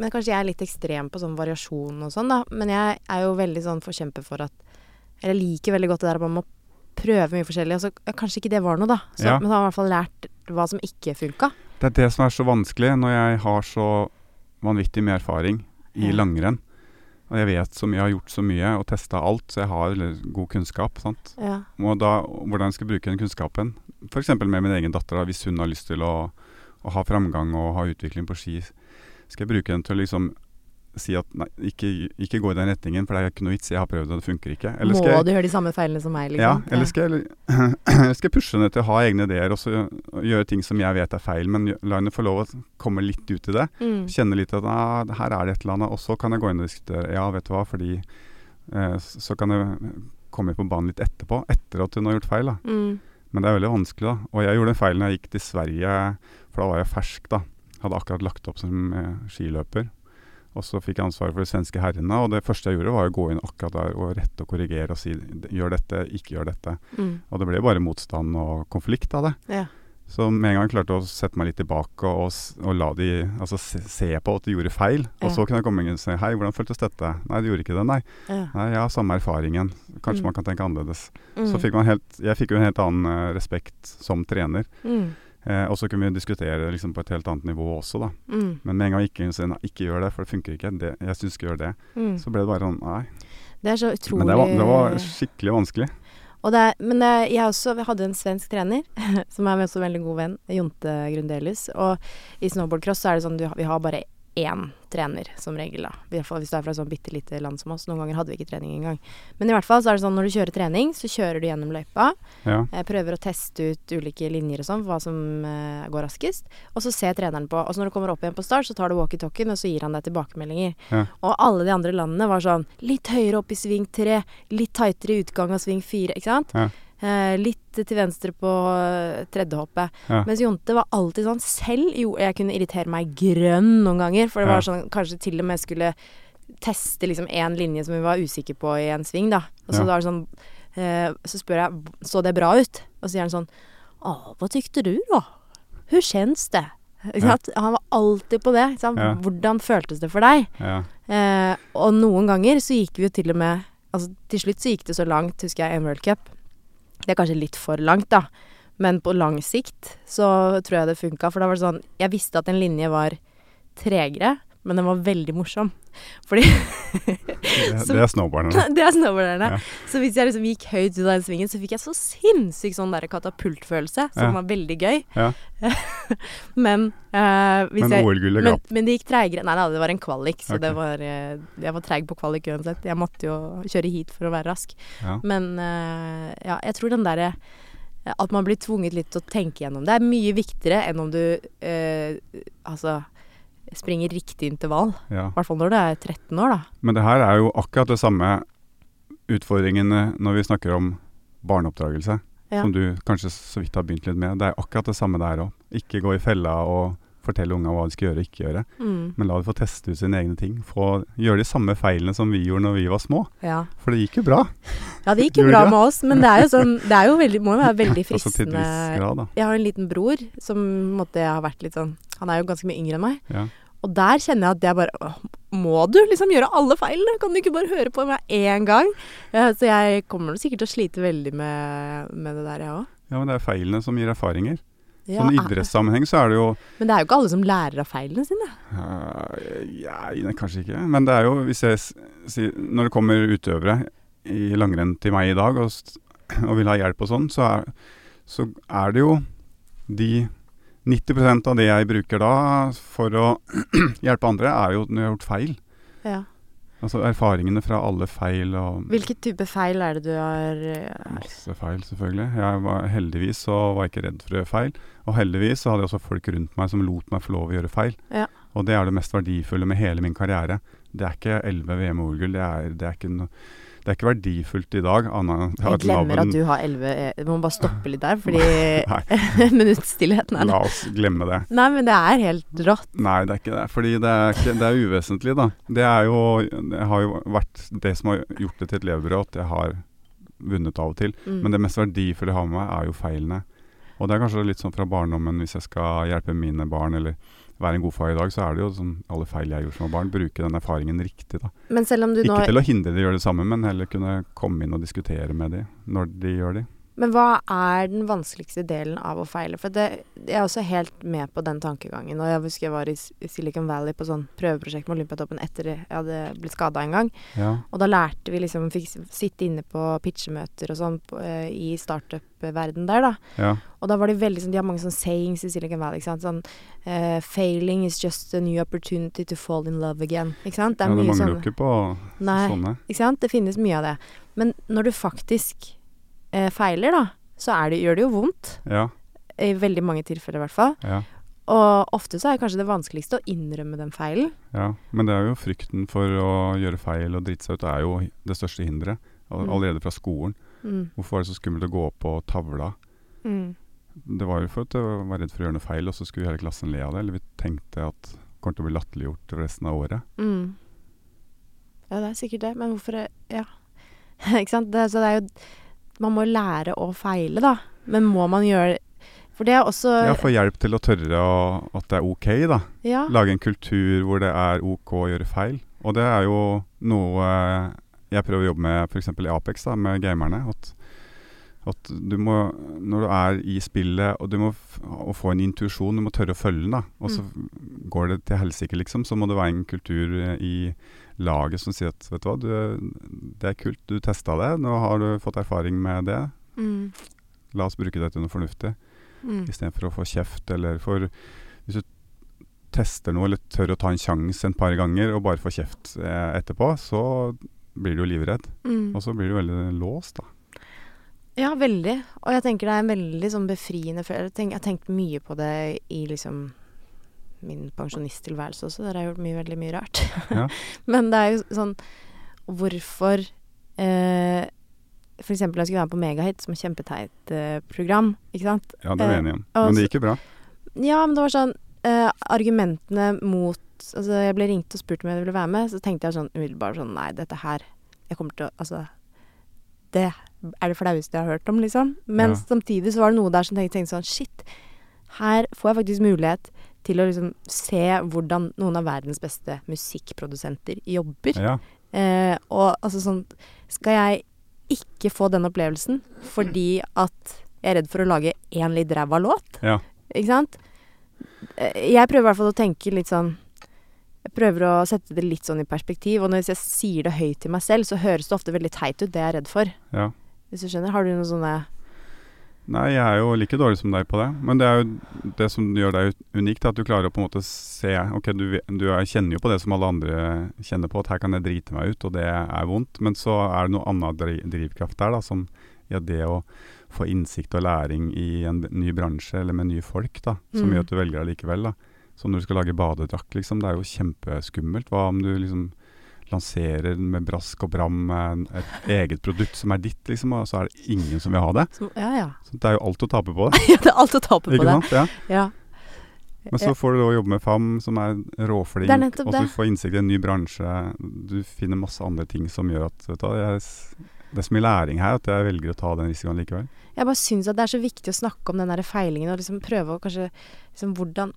Speaker 2: Men kanskje jeg er litt ekstrem på sånn variasjon og sånn, da. Men jeg er jo veldig sånn forkjemper for at Eller jeg liker veldig godt det der at man må prøve mye forskjellig. Og så ja, kanskje ikke det var noe, da. Så,
Speaker 1: Ja.
Speaker 2: Men da har man i hvert fall lært hva som ikke funka.
Speaker 1: Det er det som er så vanskelig når jeg har så vanvittig mye erfaring i
Speaker 2: Ja.
Speaker 1: langrenn. Og jeg vet så mye, jeg har gjort så mye og testa alt, så jeg har eller, god kunnskap. sant?
Speaker 2: Ja.
Speaker 1: Og da, hvordan jeg skal bruke den kunnskapen, f.eks. med min egen datter, da, hvis hun har lyst til å, å ha framgang og ha utvikling på ski, skal jeg bruke den til å liksom si at nei, ikke, ikke gå i den retningen, for det er ikke noe vits, jeg har prøvd, og det funker ikke. Eller
Speaker 2: Må
Speaker 1: skal jeg,
Speaker 2: du liksom? gjøre de samme feilene som meg,
Speaker 1: ja,
Speaker 2: liksom?
Speaker 1: eller skal jeg, eller skal jeg pushe henne til å ha egne ideer og så gjø- gjøre ting som jeg vet er feil, men gjø- la henne få lov å komme litt ut i det.
Speaker 2: Mm.
Speaker 1: Kjenne litt at ah, her er det et eller annet, og så kan jeg gå inn og diskutere. Ja, vet du hva, fordi eh, s- så kan jeg komme på banen litt etterpå, etter at hun har gjort feil. da.
Speaker 2: Mm.
Speaker 1: Men det er veldig vanskelig, da. Og jeg gjorde en feil når jeg gikk til Sverige, for da var jeg fersk, da. Hadde akkurat lagt opp som eh, skiløper. Og så fikk jeg ansvaret for de svenske herrene, og det første jeg gjorde var å gå inn akkurat der og rette og korrigere og si gjør dette, ikke gjør dette.
Speaker 2: Mm.
Speaker 1: Og det ble bare motstand og konflikt av det.
Speaker 2: Ja.
Speaker 1: Så med en gang jeg klarte å sette meg litt tilbake og, og, s- og la de altså, se, se på at de gjorde feil.
Speaker 2: Ja.
Speaker 1: Og så kunne jeg komme inn og si hei, hvordan føltes dette? Nei, du gjorde ikke det, nei.
Speaker 2: Ja.
Speaker 1: Nei, jeg har samme erfaringen. Kanskje
Speaker 2: Mm.
Speaker 1: man kan tenke annerledes.
Speaker 2: Mm.
Speaker 1: Så fikk man helt, jeg fikk jo en helt annen eh, respekt som trener.
Speaker 2: mm.
Speaker 1: Eh, og så kunne vi diskutere liksom, på et helt annet nivå også, da.
Speaker 2: Mm.
Speaker 1: Men med en gang jeg gikk inn og sa nei, ikke gjør det, for det funker ikke, det, jeg syns du skal gjøre det,
Speaker 2: Mm.
Speaker 1: så ble det bare sånn nei.
Speaker 2: Det er så utrolig
Speaker 1: Men det var, det var skikkelig vanskelig.
Speaker 2: Og det, er- men eh, jeg også hadde en svensk trener, som er min også veldig god venn, Jonte Grundelius. Og i snowboardcross så er det sånn du, har- vi har bare én trener, som regel. da. I hvert fall hvis du er fra et sånn bitte lite land som oss. Noen ganger hadde vi ikke trening engang. Men i hvert fall så er det sånn når du kjører trening, så kjører du gjennom løypa.
Speaker 1: Ja.
Speaker 2: eh, Prøver å teste ut ulike linjer og sånn, hva som eh, går raskest. Og så ser treneren på. Og så når du kommer opp igjen på start, så tar du walkietalkien, og så gir han deg tilbakemeldinger.
Speaker 1: Ja.
Speaker 2: Og alle de andre landene var sånn litt høyere opp i sving tre, litt tightere i utgang av sving fire, ikke sant.
Speaker 1: Ja.
Speaker 2: Eh, litt til venstre på eh, tredje hoppet.
Speaker 1: Ja.
Speaker 2: Mens Jonte var alltid sånn selv Jo, jeg kunne irritere meg grønn noen ganger, for det
Speaker 1: Ja.
Speaker 2: var sånn kanskje til og med skulle teste liksom én linje som vi var usikre på i en sving, da. Og så,
Speaker 1: Ja.
Speaker 2: da er det sånn, eh, så spør jeg så det bra ut, og så sier han sånn Å, hva tykte du, da? Hvor kjennes det? Ikke
Speaker 1: Ja.
Speaker 2: sant? Han var alltid på det. Ikke sant?
Speaker 1: Ja.
Speaker 2: Hvordan føltes det for deg?
Speaker 1: ja.
Speaker 2: Eh, og noen ganger så gikk vi jo til og med Altså til slutt så gikk det så langt, husker jeg, i en World Cup. Det er kanskje litt for langt, da. Men på lang sikt så tror jeg det funka. For da var det sånn Jeg visste at en linje var tregere, men den var veldig morsom. Fordi
Speaker 1: Det,
Speaker 2: Så-
Speaker 1: det er snowboarderne.
Speaker 2: det er snowboarderne.
Speaker 1: Ja.
Speaker 2: Så hvis jeg liksom gikk høyt ut av den svingen, så fikk jeg så sinnssykt sånn der katapultfølelse, som
Speaker 1: Ja.
Speaker 2: var veldig gøy.
Speaker 1: Ja.
Speaker 2: men eh, hvis
Speaker 1: Men
Speaker 2: jeg
Speaker 1: OL-gullet
Speaker 2: men,
Speaker 1: glapp.
Speaker 2: men det gikk treigere. Nei, nei, det var en kvalik, så
Speaker 1: Ok.
Speaker 2: det var eh, Jeg var treig på kvalik uansett. Jeg måtte jo kjøre hit for å være rask.
Speaker 1: Ja.
Speaker 2: Men eh, ja, jeg tror den derre eh, At man blir tvunget litt til å tenke gjennom det, er mye viktigere enn om du eh, altså springer riktig intervall.
Speaker 1: Ja.
Speaker 2: I hvert fall når du er 13 år, da.
Speaker 1: Men det her er jo akkurat det samme utfordringene når vi snakker om barneoppdragelse,
Speaker 2: Ja.
Speaker 1: som du kanskje så vidt har begynt litt med. Det er akkurat det samme der òg. Ikke gå i fella og fortelle unga hva de skal gjøre og ikke gjøre.
Speaker 2: Mm.
Speaker 1: Men la dem få teste ut sine egne ting. Få gjøre de samme feilene som vi gjorde når vi var små.
Speaker 2: Ja.
Speaker 1: For det gikk jo bra.
Speaker 2: Ja, det gikk jo
Speaker 1: Gjorde
Speaker 2: bra
Speaker 1: det?
Speaker 2: med oss, men det er jo sånn Det er jo veldig, må jo være veldig
Speaker 1: Også Altså til en viss
Speaker 2: fristende
Speaker 1: grad, da.
Speaker 2: Jeg har en liten bror som måtte har vært litt sånn Han er jo ganske mye yngre enn meg.
Speaker 1: Ja.
Speaker 2: Og der kjenner jeg at jeg bare «Åh, Må du liksom gjøre alle feilene? Kan du ikke bare høre på meg én gang? Eh, Så jeg kommer sikkert til å slite veldig med, med det der, jeg òg.
Speaker 1: ja, men det er feilene som gir erfaringer.
Speaker 2: Ja, ah,
Speaker 1: Sånn i idrettssammenheng så er det jo
Speaker 2: men det er jo ikke alle som lærer av feilene sine.
Speaker 1: Eh, ja, nei, kanskje ikke. Men det er jo, hvis jeg s- sier Når det kommer utøvere i langrenn til meg i dag og, s- og vil ha hjelp og sånn, så er, så er det jo de 90 av det jeg bruker da for å hjelpe andre, er jo når jeg har gjort feil.
Speaker 2: Ja.
Speaker 1: Altså erfaringene fra alle feil og
Speaker 2: Hvilken type feil er det du har eh,
Speaker 1: Masse feil, selvfølgelig. Jeg var, heldigvis så var jeg ikke redd for å gjøre feil. Og heldigvis så hadde jeg også folk rundt meg som lot meg få lov å gjøre feil.
Speaker 2: Ja.
Speaker 1: Og det er det mest verdifulle med hele min karriere. Det er ikke 11 VM-OL-gull. Det, er- det, er ikke no, Det er ikke verdifullt i dag. Anna,
Speaker 2: Jeg glemmer at du har 11 eh, Må bare stoppe litt der, fordi Minuttstillheten er det.
Speaker 1: La oss glemme det.
Speaker 2: Nei, men det er helt rått.
Speaker 1: Nei, det er ikke det. Fordi det er, ikke, det er uvesentlig, da. Det er jo Det har jo vært det som har gjort det til et levebrød at jeg har vunnet av og til.
Speaker 2: Mm.
Speaker 1: Men det mest verdifulle jeg har med meg, er jo feilene. Og det er kanskje litt sånn fra barndommen, hvis jeg skal hjelpe mine barn, eller være en god far i dag, så er det jo sånn alle feil jeg gjorde som barn, bruke den erfaringen riktig, da.
Speaker 2: Men selv om du nå
Speaker 1: Ikke til å hindre de å gjøre det samme, men heller kunne komme inn og diskutere med de når de gjør de.
Speaker 2: Men hva er den vanskeligste delen av å feile? For det, jeg er også helt med på den tankegangen. Og jeg husker jeg var i S- i Silicon Valley på sånn prøveprosjekt med Olympiatoppen etter jeg hadde blitt skada en gang.
Speaker 1: Ja.
Speaker 2: Og da lærte vi liksom Fikk s- sitte inne på pitchemøter og sånn på, eh, i startup-verden der, da.
Speaker 1: ja.
Speaker 2: Og da var de veldig sånn De har mange sånne sayings i Silicon Valley, ikke sant. Sånn eh, Failing is just a new opportunity to fall in love again. Ikke sant.
Speaker 1: ja,
Speaker 2: Det
Speaker 1: det
Speaker 2: er mye
Speaker 1: mangler jo
Speaker 2: sånn
Speaker 1: ikke på
Speaker 2: Nei.
Speaker 1: sånne.
Speaker 2: Ikke sant? Det finnes mye av det. Men når du faktisk eh, feiler, da, så er det, gjør det jo vondt.
Speaker 1: Ja,
Speaker 2: I veldig mange tilfeller, i hvert fall.
Speaker 1: ja,
Speaker 2: Og ofte så er kanskje det vanskeligste å innrømme den feilen.
Speaker 1: ja. Men det er jo frykten for å gjøre feil og drite seg ut, det er jo det største hinderet. all-
Speaker 2: Mm.
Speaker 1: Allerede fra skolen.
Speaker 2: Mm.
Speaker 1: Hvorfor var det så skummelt å gå opp på tavla? Det var jo for at jeg var redd for å gjøre noe feil, og så skulle hele klassen le av det. Eller vi tenkte at det kommer til å bli latterliggjort resten av året.
Speaker 2: Mm. Ja, det er sikkert det, men hvorfor Ja. Ikke sant? Det, så det er jo Man må jo lære å feile, da. Men må man gjøre For det er også
Speaker 1: Ja, få hjelp til å tørre å, at det er ok, da.
Speaker 2: Ja.
Speaker 1: Lage en kultur hvor det er ok å gjøre feil. Og det er jo noe jeg prøver å jobbe med f.eks. i Apex, da, med gamerne. At, at du må, når du er i spillet og du må f å få en intuisjon, du må tørre å følge den. da. Og så går det til helsike, liksom. Så må det være en kultur eh, i laget som sier at vet du hva, du, det er kult, du testa det, nå har du fått erfaring med det.
Speaker 2: Mm.
Speaker 1: La oss bruke det til noe fornuftig
Speaker 2: Mm.
Speaker 1: istedenfor å få kjeft. Eller for hvis du tester noe eller tør å ta en sjanse en par ganger og bare får kjeft eh, etterpå, så blir du jo livredd.
Speaker 2: Mm.
Speaker 1: Og så blir du veldig låst, da.
Speaker 2: Ja, veldig. Og jeg tenker det er en veldig sånn befriende følelse. Jeg, tenk- jeg har tenkt mye på det i liksom min pensjonisttilværelse også. Der har jeg gjort mye, veldig mye rart.
Speaker 1: Ja.
Speaker 2: Men det er jo sånn Hvorfor eh, For eksempel jeg skulle være med på Megahit, som er kjempeteit eh, program, ikke sant.
Speaker 1: Ja, det er vi
Speaker 2: Eh,
Speaker 1: enige om. Men
Speaker 2: og så-
Speaker 1: det gikk jo bra.
Speaker 2: Ja, men det var sånn eh, Argumentene mot Altså, jeg ble ringt og spurt om jeg ville være med, så tenkte jeg sånn umiddelbart sånn Nei, dette her Jeg kommer til å Altså Det er det flaueste jeg har hørt om, liksom. Men
Speaker 1: Ja.
Speaker 2: samtidig så var det noe der som tenkte, tenkte sånn Shit, her får jeg faktisk mulighet til å liksom se hvordan noen av verdens beste musikkprodusenter jobber.
Speaker 1: Ja,
Speaker 2: Eh, og altså sånn Skal jeg ikke få den opplevelsen fordi at jeg er redd for å lage én litt ræva låt?
Speaker 1: ja,
Speaker 2: Ikke sant? Eh, Jeg prøver i hvert fall å tenke litt sånn Jeg prøver å sette det litt sånn i perspektiv. Og når jeg sier det høyt til meg selv, så høres det ofte veldig teit ut, det jeg er redd for.
Speaker 1: ja.
Speaker 2: Hvis du skjønner? Har du noen sånne
Speaker 1: Nei, jeg er jo like dårlig som deg på det. Men det er jo det som gjør deg unikt, at du klarer å på en måte se Ok, du, ve- du er, kjenner jo på det som alle andre kjenner på, at her kan jeg drite meg ut, og det er vondt. Men så er det noe annet dri drivkraft der, da, som ja, det å få innsikt og læring i en b- ny bransje, eller med nye folk, da, som
Speaker 2: Mm.
Speaker 1: gjør at du velger deg likevel. da. Som når du skal lage badedrakt, liksom. Det er jo kjempeskummelt. Hva om du liksom lanserer med brask og bram eh, et eget produkt som er ditt, liksom, og så er det ingen som vil ha det?
Speaker 2: som, Ja, ja.
Speaker 1: Så det er jo alt å tape på det.
Speaker 2: det er alt å tape på
Speaker 1: Ikke
Speaker 2: det.
Speaker 1: sant? Ja.
Speaker 2: Ja.
Speaker 1: Men så får du da jobbe med FAM, som er råflink,
Speaker 2: Det er nettopp
Speaker 1: og så
Speaker 2: det.
Speaker 1: får innsikt i en ny bransje. Du finner masse andre ting som gjør at vet du, hva, jeg, s- Det er så mye læring her at jeg velger å ta den risikoen likevel.
Speaker 2: Jeg bare syns at det er så viktig å snakke om den der feilingen, og liksom prøve å kanskje liksom hvordan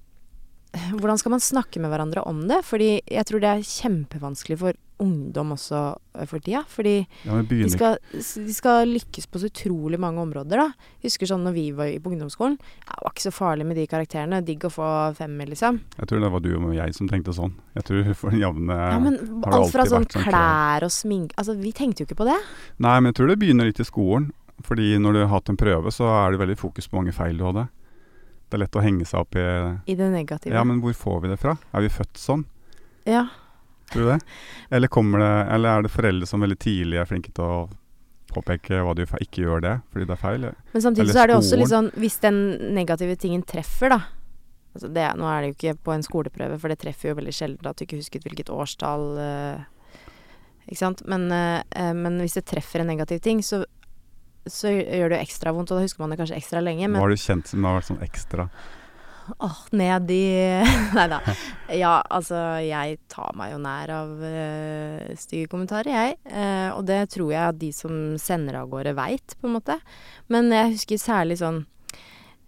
Speaker 2: hvordan skal man snakke med hverandre om det? Fordi jeg tror det er kjempevanskelig for ungdom også eh, for tida. Fordi
Speaker 1: Ja, men
Speaker 2: De
Speaker 1: begynner ikke
Speaker 2: skal, de skal lykkes på så utrolig mange områder, da. Husker sånn når vi var i- på ungdomsskolen. ja, Det var ikke så farlig med de karakterene. Digg å få femmer, liksom.
Speaker 1: Jeg tror det var du og jeg som tenkte sånn. Jeg tror for den jevne
Speaker 2: Ja, men
Speaker 1: har det
Speaker 2: alt fra
Speaker 1: alltid
Speaker 2: sånn
Speaker 1: vært sånn
Speaker 2: klær og sminke Altså, vi tenkte jo ikke på det.
Speaker 1: Nei, men jeg tror det begynner litt i skolen. Fordi når du har hatt en prøve, så er det veldig fokus på hvor mange feil du hadde. Det er lett å henge seg opp i
Speaker 2: I det negative.
Speaker 1: Ja, men hvor får vi det fra? Er vi født sånn?
Speaker 2: Ja.
Speaker 1: Tror du det? Eller, kommer det, eller er det foreldre som veldig tidlig er flinke til å påpeke hva du fe- ikke gjør det, fordi det er feil?
Speaker 2: Men samtidig
Speaker 1: Eller
Speaker 2: så er det jo også
Speaker 1: skolen.
Speaker 2: litt sånn Hvis den negative tingen treffer, da. Altså det, nå er det jo ikke på en skoleprøve, for det treffer jo veldig sjelden at du ikke husket hvilket årstall eh, Ikke sant? Men, eh, eh, men hvis det treffer en negativ ting, så, så gjør det jo ekstra vondt, og da husker man det kanskje ekstra lenge. Men
Speaker 1: Hva har du kjent som har vært sånn ekstra?
Speaker 2: Åh, ned i Nei da. Ja, altså, jeg tar meg jo nær av eh, stygge kommentarer, jeg. Eh, og det tror jeg at de som sender av gårde veit, på en måte. Men jeg husker særlig sånn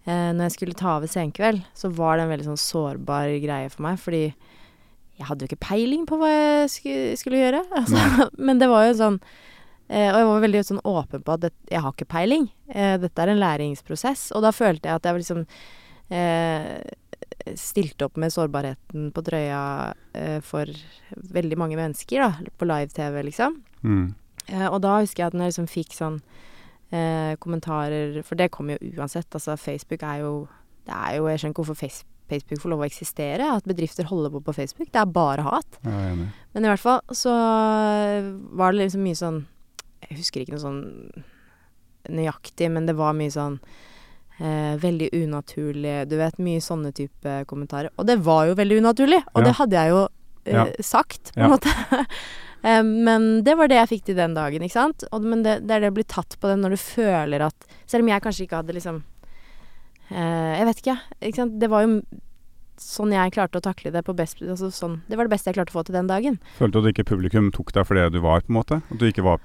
Speaker 2: eh, Når jeg skulle ta over Senkveld, så var det en veldig sånn sårbar greie for meg, fordi jeg hadde jo ikke peiling på hva jeg skulle, skulle gjøre. Altså, men det var jo sånn Eh, og jeg var veldig sånn åpen på at det, jeg har ikke peiling. Eh, dette er en læringsprosess. Og da følte jeg at jeg var liksom eh, stilte opp med sårbarheten på Drøya eh, for veldig mange mennesker, da. På live-TV, liksom.
Speaker 1: Mm.
Speaker 2: Eh, og da husker jeg at når jeg liksom fikk sånn eh, kommentarer For det kommer jo uansett. Altså, Facebook er jo Det er jo Jeg skjønner ikke hvorfor Face- Facebook får lov å eksistere. At bedrifter holder på på Facebook. Det er bare hat.
Speaker 1: Jeg er enig.
Speaker 2: Men i hvert fall så var det liksom mye sånn Jeg husker ikke noe sånn nøyaktig, men det var mye sånn eh, veldig unaturlig Du vet, mye sånne type kommentarer. Og det var jo veldig unaturlig! Og
Speaker 1: Ja.
Speaker 2: det hadde jeg jo eh,
Speaker 1: Ja.
Speaker 2: sagt, på en
Speaker 1: Ja.
Speaker 2: måte. Eh, men det var det jeg fikk til den dagen, ikke sant? Og, men det, det er det å bli tatt på den når du føler at Selv om jeg kanskje ikke hadde liksom eh, Jeg vet ikke, ikke sant? Det var jo sånn jeg klarte å takle det på best altså sånn, Det var det beste jeg klarte å få til den dagen.
Speaker 1: Følte du at ikke publikum tok deg for det du var, på en måte? At du ikke var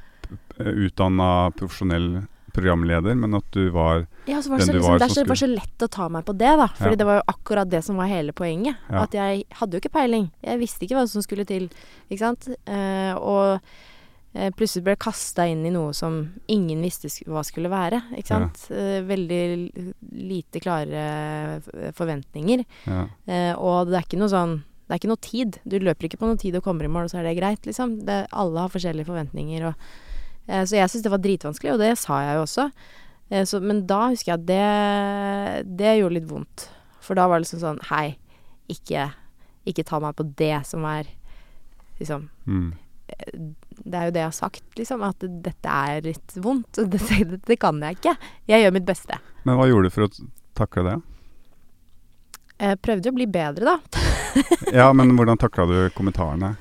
Speaker 1: utdanna profesjonell programleder, men at du var
Speaker 2: Ja, så var det,
Speaker 1: Den
Speaker 2: så,
Speaker 1: du
Speaker 2: liksom,
Speaker 1: var
Speaker 2: det er
Speaker 1: som
Speaker 2: så, det var så lett å ta meg på det, da. Fordi
Speaker 1: Ja.
Speaker 2: det var jo akkurat det som var hele poenget.
Speaker 1: Ja.
Speaker 2: At jeg hadde jo ikke peiling. Jeg visste ikke hva som skulle til. Ikke sant? Eh, og eh, plutselig ble jeg kasta inn i noe som ingen visste sk hva skulle være. Ikke
Speaker 1: Ja.
Speaker 2: sant? Eh, veldig l- lite klare f- forventninger.
Speaker 1: ja.
Speaker 2: Eh, og det er ikke noe sånn det er ikke noe tid. Du løper ikke på noe tid og kommer i mål, og så er det greit, liksom. Det, alle har forskjellige forventninger og eh, Så jeg syns det var dritvanskelig, og det sa jeg jo også. Eh, så, men da husker jeg at det Det gjorde litt vondt. For da var det liksom sånn Hei, ikke, ikke ta meg på det som er Liksom
Speaker 1: Mm.
Speaker 2: Det er jo det jeg har sagt, liksom. At dette er litt vondt. og Dette, dette kan jeg ikke. Jeg gjør mitt beste.
Speaker 1: Men hva gjorde du for å takle det?
Speaker 2: Jeg prøvde å bli bedre, da.
Speaker 1: Ja, men hvordan takla du kommentarene?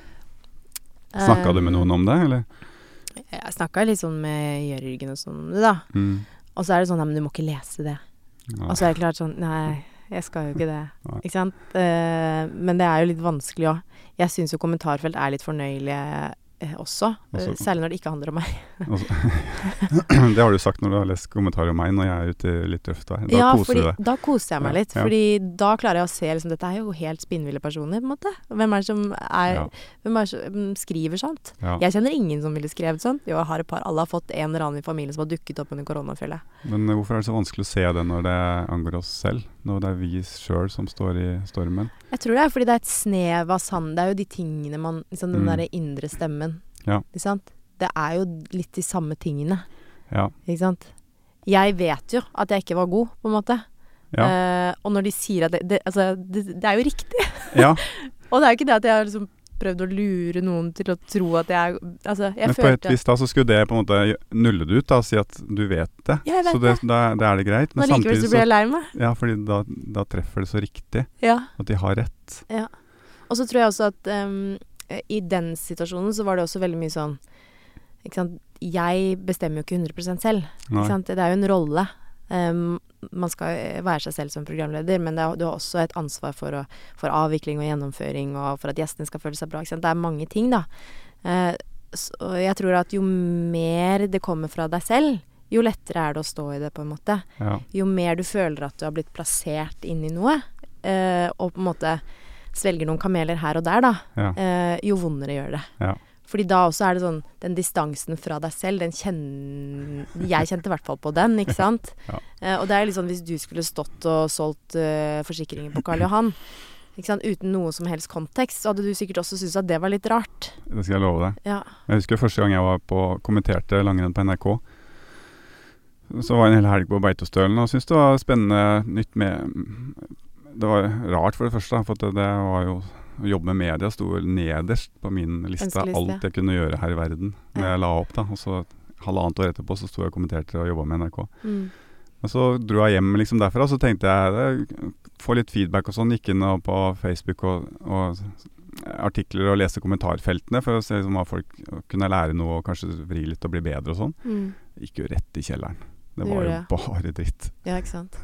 Speaker 1: Snakka du med
Speaker 2: Eh,
Speaker 1: noen om det, eller?
Speaker 2: Jeg snakka litt sånn med Jørgen og sånn om det, da.
Speaker 1: Mm.
Speaker 2: Og så er det sånn Nei, men du må ikke lese det.
Speaker 1: Ja.
Speaker 2: Og så er det klart sånn Nei, jeg skal jo ikke det.
Speaker 1: Nei.
Speaker 2: Ikke sant? Eh, men det er jo litt vanskelig òg. Jeg syns jo kommentarfelt er litt fornøyelige eh, også. eh,
Speaker 1: Også-
Speaker 2: særlig når det ikke handler om meg.
Speaker 1: Altså, det har du sagt når du har lest kommentarer om meg når jeg er ute i litt tøft vær. Da koser
Speaker 2: fordi,
Speaker 1: du deg.
Speaker 2: Da koser jeg meg
Speaker 1: Ja,
Speaker 2: litt.
Speaker 1: ja.
Speaker 2: Fordi da klarer jeg å se liksom Dette er jo helt spinnville personer, på en måte. Hvem er det som, er,
Speaker 1: Ja.
Speaker 2: hvem er det som mm, skriver sånt?
Speaker 1: Ja.
Speaker 2: Jeg kjenner ingen som ville skrevet sånt. Jo, jeg har et par. Alle har fått en eller annen i familien som har dukket opp under koronafjellet.
Speaker 1: Men eh, hvorfor er det så vanskelig å se det når det angår oss selv? Når det er vi sjøl som står i stormen?
Speaker 2: Jeg tror det er fordi det er et snev av sann Det er jo de tingene man liksom, Den
Speaker 1: Mm.
Speaker 2: derre indre stemmen.
Speaker 1: Ja.
Speaker 2: Ikke sant? Det er jo litt de samme tingene.
Speaker 1: Ja.
Speaker 2: Ikke sant? Jeg vet jo at jeg ikke var god, på en måte.
Speaker 1: Ja.
Speaker 2: Eh, og når de sier at det, det, altså, det, det er jo riktig.
Speaker 1: ja.
Speaker 2: Og det er jo ikke det at jeg har liksom prøvd å lure noen til å tro at jeg er Altså, jeg
Speaker 1: Men på et
Speaker 2: følte
Speaker 1: vis da så skulle det på en måte nulle det ut, da, og si at du vet det.
Speaker 2: Ja, jeg vet
Speaker 1: så det, Da, da er det greit. Men
Speaker 2: Men likevel
Speaker 1: samtidig
Speaker 2: så ble
Speaker 1: så
Speaker 2: jeg lei meg.
Speaker 1: Ja, fordi da, da treffer det så riktig
Speaker 2: Ja.
Speaker 1: at de har rett.
Speaker 2: Og så tror jeg også at ehm, i den situasjonen så var det også veldig mye sånn ikke sant? Jeg bestemmer jo ikke 100 selv.
Speaker 1: Nei.
Speaker 2: Ikke sant? Det er jo en rolle. Um, man skal eh, være seg selv som programleder, men det er, du har også et ansvar for, å, for avvikling og gjennomføring, og for at gjestene skal føle seg bra. Ikke sant? Det er mange ting, da. Eh, s- og jeg tror at jo mer det kommer fra deg selv, jo lettere er det å stå i det, på en måte.
Speaker 1: Ja.
Speaker 2: Jo mer du føler at du har blitt plassert inn i noe, eh, og på en måte svelger noen kameler her og der, da,
Speaker 1: Ja.
Speaker 2: eh, jo vondere gjør det.
Speaker 1: Ja.
Speaker 2: Fordi da også er det sånn Den distansen fra deg selv, den kjenner Jeg kjente i hvert fall på den, ikke sant?
Speaker 1: Ja.
Speaker 2: Eh, og det er litt sånn hvis du skulle stått og solgt eh, forsikringer på Karl Johan ikke sant? uten noe som helst kontekst, så hadde du sikkert også syntes at det var litt rart.
Speaker 1: Det skal jeg love deg.
Speaker 2: Ja.
Speaker 1: Jeg husker første gang jeg var på, kommenterte langrenn på NRK. Så var jeg en hel helg på Beitostølen og syntes det var spennende nytt med Det var rart, for det første, da, for at det, det var jo å jobbe med media sto vel nederst på min liste av
Speaker 2: Ønskeliste.
Speaker 1: alt jeg kunne gjøre her i verden. Når
Speaker 2: Ja.
Speaker 1: jeg la opp, da. Og så halvannet år etterpå så sto jeg og kommenterte og jobba med NRK.
Speaker 2: Mm.
Speaker 1: Men så dro jeg hjem liksom derfra, så tenkte jeg det, få litt feedback og sånn. Gikk inn og på Facebook og, og artikler og lese kommentarfeltene for å se liksom, hva folk kunne lære noe og kanskje vri litt og bli bedre og sånn.
Speaker 2: Mm.
Speaker 1: Gikk jo rett i kjelleren. Det
Speaker 2: Du
Speaker 1: var jo
Speaker 2: gjorde
Speaker 1: bare dritt.
Speaker 2: Ja, ikke sant.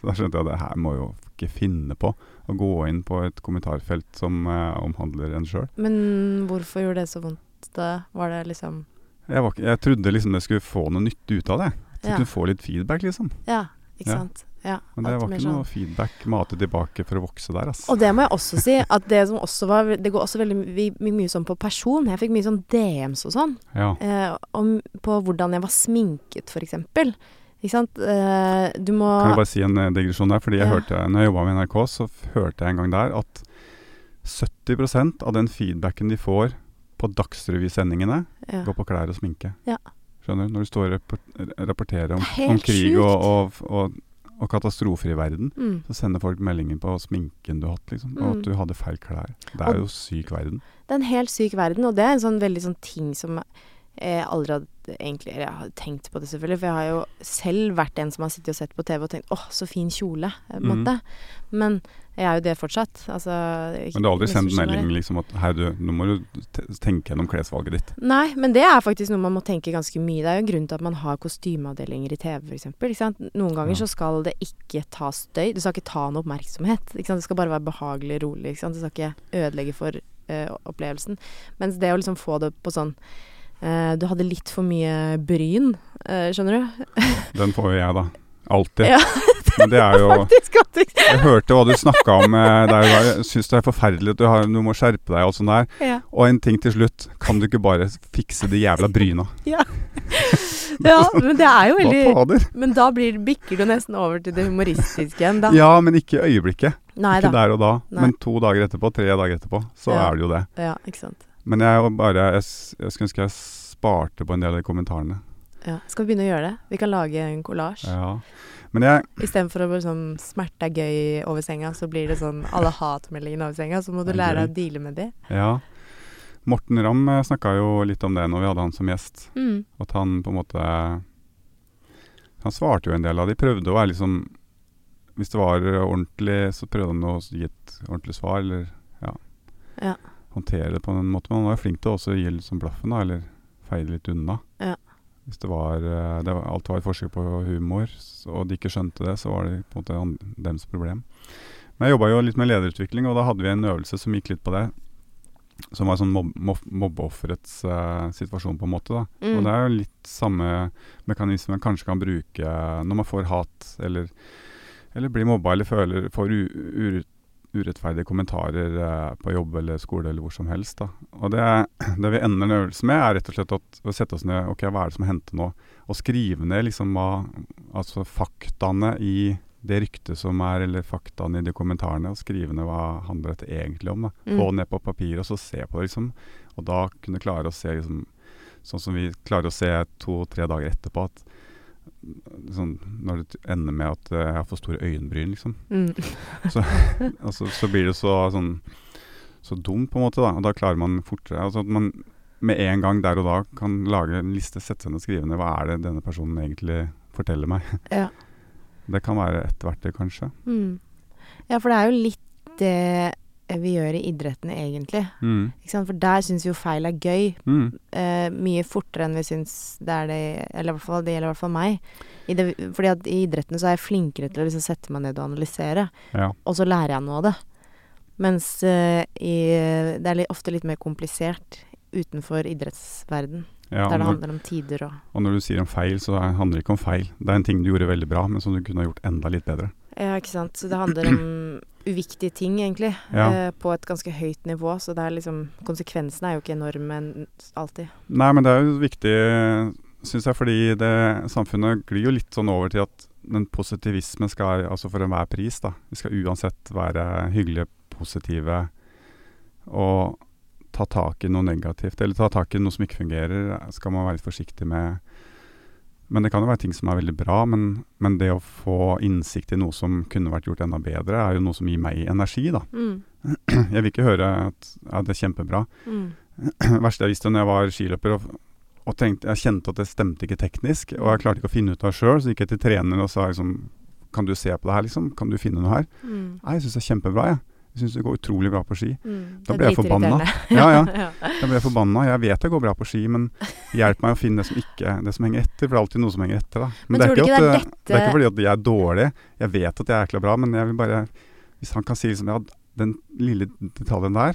Speaker 1: Så da skjønte jeg at det her må jeg jo ikke finne på. Å gå inn på et kommentarfelt som eh, omhandler en sjøl.
Speaker 2: Men hvorfor gjorde det så vondt da? Var det liksom
Speaker 1: Jeg, var ikke- jeg trodde liksom jeg skulle få noe nytte ut av det. Så jeg
Speaker 2: Ja,
Speaker 1: kunne få litt feedback, liksom.
Speaker 2: ja ikke
Speaker 1: Ja.
Speaker 2: sant. Ja,
Speaker 1: Men det
Speaker 2: alt
Speaker 1: var
Speaker 2: mer
Speaker 1: ikke
Speaker 2: sånn.
Speaker 1: noe feedback mate tilbake for å vokse der, ass.
Speaker 2: Og det må jeg også si, at det som også var Det går også veldig my my- mye sånn på person. Jeg fikk mye sånn DMs og sånn.
Speaker 1: Ja.
Speaker 2: Eh, om, på hvordan jeg var sminket, for eksempel. Ikke sant. Eh, du
Speaker 1: Kan jeg
Speaker 2: må
Speaker 1: bare si en eh, digresjon der? Fordi jeg
Speaker 2: Ja.
Speaker 1: hørte, eh, når jeg jobba med NRK, så f- hørte jeg en gang der at 70 av den feedbacken de får på Dagsrevy-sendingene,
Speaker 2: ja.
Speaker 1: går på klær og sminke.
Speaker 2: Ja.
Speaker 1: Skjønner du? Når du står og rappor- rapporterer om,
Speaker 2: Det er helt
Speaker 1: om krig og,
Speaker 2: sjukt.
Speaker 1: og, og, og katastrofer i verden,
Speaker 2: mm.
Speaker 1: så sender folk meldinger på sminken du har hatt, liksom. Og
Speaker 2: Mm.
Speaker 1: at du hadde feil klær. Det
Speaker 2: Og-
Speaker 1: er jo syk verden.
Speaker 2: Det er en helt syk verden, og det er en sånn veldig sånn ting som jeg aldri hadde egentlig Eller jeg har tenkt på det, selvfølgelig, for jeg har jo selv vært en som har sittet og sett på TV og tenkt 'Åh, så fin kjole', eh, på
Speaker 1: Mhm.
Speaker 2: en måte. Men jeg er jo det fortsatt. Altså ikke-
Speaker 1: Men du har aldri sendt
Speaker 2: misforstå meg
Speaker 1: melding
Speaker 2: rett.
Speaker 1: liksom at hei, du, nå må du te- tenke gjennom klesvalget ditt.
Speaker 2: Nei, men det er faktisk noe man må tenke ganske mye. Det er jo en grunn til at man har kostymeavdelinger i TV, f.eks. Noen ganger
Speaker 1: Ja.
Speaker 2: så skal det ikke ta støy. Det skal ikke ta noe oppmerksomhet. Ikke sant? Det skal bare være behagelig rolig. Ikke sant? Det skal ikke ødelegge for eh, opplevelsen. Mens det å liksom få det på sånn eh, Du hadde litt for mye bryn, eh, skjønner du?
Speaker 1: Den får jo jeg, da. Alltid.
Speaker 2: Ja.
Speaker 1: Men det er jo
Speaker 2: Faktisk at det-
Speaker 1: Jeg hørte hva du snakka om eh, der. du var. Jeg syns det er forferdelig at du, har, du må skjerpe deg og alt sånt der.
Speaker 2: ja.
Speaker 1: Og en ting til slutt. Kan du ikke bare fikse de jævla bryna?
Speaker 2: ja, men det er jo
Speaker 1: Hva
Speaker 2: veldig
Speaker 1: fader?
Speaker 2: Men da blir, bikker du nesten over til det humoristiske igjen, da.
Speaker 1: Ja, men ikke i øyeblikket.
Speaker 2: Nei
Speaker 1: Ikke
Speaker 2: da.
Speaker 1: der og da.
Speaker 2: Nei.
Speaker 1: Men to dager etterpå, tre dager etterpå, så
Speaker 2: Ja.
Speaker 1: er det jo det.
Speaker 2: Ja, ikke sant.
Speaker 1: Men jeg, var bare, jeg, s- jeg skulle ønske jeg sparte på en del av de kommentarene.
Speaker 2: Ja. Skal vi begynne å gjøre det? Vi kan lage en kollasj.
Speaker 1: Ja. Men jeg
Speaker 2: Istedenfor å bare sånn smerte er gøy over senga, så blir det sånn alle hatmeldingene over senga. Så må du
Speaker 1: Det er
Speaker 2: lære
Speaker 1: gøy.
Speaker 2: deg å deale med de.
Speaker 1: Ja. Morten Ramm snakka jo litt om det når vi hadde han som gjest. At han på en måte Han svarte jo en del av de prøvde å være liksom Hvis det var ordentlig, så prøvde han å gi et ordentlig svar, eller ja,
Speaker 2: Ja.
Speaker 1: håndtere det på en måte. Men han var jo flink til å også gi litt sånn blaffen, da, eller feie litt unna.
Speaker 2: Ja.
Speaker 1: Hvis det var, eh, det var Alt var et forsøk på humor, s- og de ikke skjønte det, så var det på en måte an- dems problem. Men jeg jobba jo litt med lederutvikling, og da hadde vi en øvelse som gikk litt på det. Som var sånn mob mob- mobbeofferets eh, situasjon, på en måte. da.
Speaker 2: Mm.
Speaker 1: Og det er jo litt samme mekanisme man kanskje kan bruke når man får hat, eller, eller blir mobba, eller føler, får u ure- urettferdige kommentarer eh, på jobb eller skole eller hvor som helst. Da. Og det, det vi ender en øvelse med, er rett og slett at, å sette oss ned ok, hva er det som hendte nå, og skrive ned liksom hva, altså faktaene i det ryktet som er, eller faktaene i de kommentarene, og skrive ned hva handler dette egentlig om. Da.
Speaker 2: Mm.
Speaker 1: Få det ned på papir, og så se på det, liksom. Og da kunne klare å se liksom, Sånn som vi klarer å se to-tre dager etterpå at mm, sånn, Når det t- ender med at eh, jeg har for store øyenbryn, liksom.
Speaker 2: Mm.
Speaker 1: Altså, så blir det så, sånn, så dumt, på en måte. da, Og da klarer man fortere altså at man med en gang der og da kan lage en liste, sette seg ned og skrive ned hva er det denne personen egentlig forteller meg.
Speaker 2: Ja.
Speaker 1: Det kan være et verktøy, kanskje.
Speaker 2: Mm. ja, for det er jo litt det vi gjør i idretten, egentlig.
Speaker 1: Mm.
Speaker 2: Ikke sant? For der syns vi jo feil er gøy
Speaker 1: Mm.
Speaker 2: eh, mye fortere enn vi syns det er det Eller i hvert fall, det gjelder i hvert fall meg. I det, fordi at i idretten så er jeg flinkere til å liksom sette meg ned og analysere.
Speaker 1: Ja.
Speaker 2: og så lærer jeg noe av det. Mens eh, i, det er litt, ofte litt mer komplisert utenfor idrettsverden,
Speaker 1: ja
Speaker 2: der det
Speaker 1: og, når,
Speaker 2: handler om tider og
Speaker 1: og når du sier om feil, så er- handler det ikke om feil. Det er en ting du gjorde veldig bra, men som du kunne ha gjort enda litt bedre.
Speaker 2: Ja, ikke sant. Så det handler om uviktige ting, egentlig.
Speaker 1: Ja.
Speaker 2: eh, på et ganske høyt nivå, så det er liksom Konsekvensene er jo ikke enorme n- alltid.
Speaker 1: Nei, men det er jo viktig, syns jeg, fordi det, samfunnet glir jo litt sånn over til at den positivismen skal altså for enhver pris, da. Vi skal uansett være hyggelige, positive og ta tak i noe negativt. Eller ta tak i noe som ikke fungerer, skal man være litt forsiktig med. Men det kan jo være ting som er veldig bra, men, men det å få innsikt i noe som kunne vært gjort enda bedre, er jo noe som gir meg energi, da.
Speaker 2: Mm.
Speaker 1: Jeg vil ikke høre at ja, det er kjempebra,
Speaker 2: Mm.
Speaker 1: verste jeg visste når jeg var skiløper og, og tenkte, jeg kjente at det stemte ikke teknisk, og jeg klarte ikke å finne ut av det sjøl, så gikk jeg til treneren og sa liksom Kan du se på det her, liksom? Kan du finne noe her?
Speaker 2: Mm.
Speaker 1: Nei, jeg syns det er kjempebra, jeg. Jeg syns det går utrolig bra på ski.
Speaker 2: Mm,
Speaker 1: Da
Speaker 2: det er
Speaker 1: ble jeg forbanna.
Speaker 2: dritirriterende.
Speaker 1: Ja, ja.
Speaker 2: ja.
Speaker 1: Jeg ble forbanna. Jeg vet jeg går bra på ski, men hjelp meg å finne det som, ikke, det som henger etter. For det er alltid noe som henger etter. Da.
Speaker 2: Men
Speaker 1: det,
Speaker 2: tror
Speaker 1: er
Speaker 2: du
Speaker 1: ikke
Speaker 2: ikke det er
Speaker 1: at, det er
Speaker 2: dette-
Speaker 1: ikke fordi at jeg er dårlig. Jeg vet at jeg er jækla bra, men jeg vil bare Hvis han kan si liksom Ja, den lille detaljen der,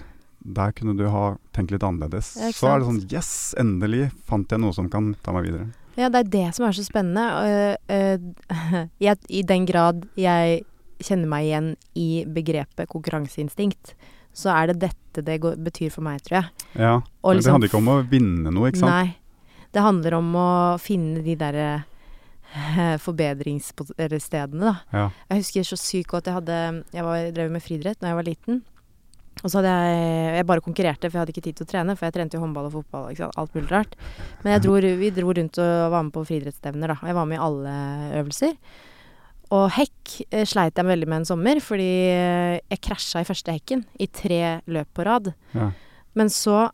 Speaker 1: der kunne du ha tenkt litt annerledes.
Speaker 2: Ja, ikke
Speaker 1: Så er det sånn
Speaker 2: sant?
Speaker 1: Yes! Endelig fant jeg noe som kan ta meg videre.
Speaker 2: Ja, det er det som er så spennende. og, øh, jeg, I den grad jeg kjenner meg igjen i begrepet konkurranseinstinkt, så er det dette det går, betyr for meg, tror jeg.
Speaker 1: Ja.
Speaker 2: Og liksom
Speaker 1: men det handler ikke om å vinne noe, ikke sant?
Speaker 2: Nei. Det handler om å finne de eh, derre forbedringsstedene, da.
Speaker 1: Ja.
Speaker 2: Jeg husker så sykt godt jeg hadde Jeg var, drev med friidrett da jeg var liten. Og så hadde jeg Jeg bare konkurrerte, for jeg hadde ikke tid til å trene. For jeg trente jo håndball og fotball og ikke sant? alt mulig rart. Men jeg dro, vi dro rundt og var med på friidrettsstevner, da. Og jeg var med i alle øvelser. Og hekk eh, sleit jeg veldig med en sommer, fordi eh, jeg krasja i første hekken i tre løp på rad.
Speaker 1: Ja.
Speaker 2: Men så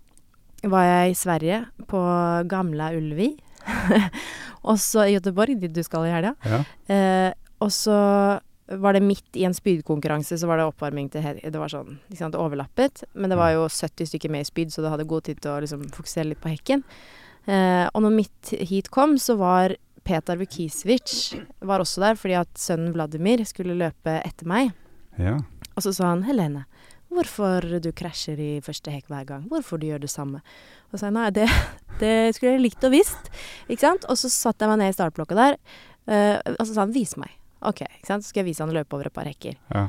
Speaker 2: var jeg i Sverige, på gamla Ulvi. og så i Göteborg, dit du skal i helga.
Speaker 1: Ja.
Speaker 2: Eh, og så var det midt i en spydkonkurranse, så var det oppvarming til helg. Det var sånn, ikke sant, det overlappet. Men det var jo 70 stykker med i spyd, så du hadde god tid til å liksom fokusere litt på hekken. Eh, og når mitt heat kom, så var Petar Vukisevic var også der, fordi at sønnen Vladimir skulle løpe etter meg.
Speaker 1: ja.
Speaker 2: Og så sa han Helene, hvorfor du krasjer i første hekk hver gang? Hvorfor du gjør det samme? Og så sa jeg nei, det, det skulle jeg likt og visst. Ikke sant? Og så satte jeg meg ned i startblokka der, eh, og så sa han vis meg. Ok, ikke sant? så skal jeg vise han å løpe over et par hekker.
Speaker 1: Ja.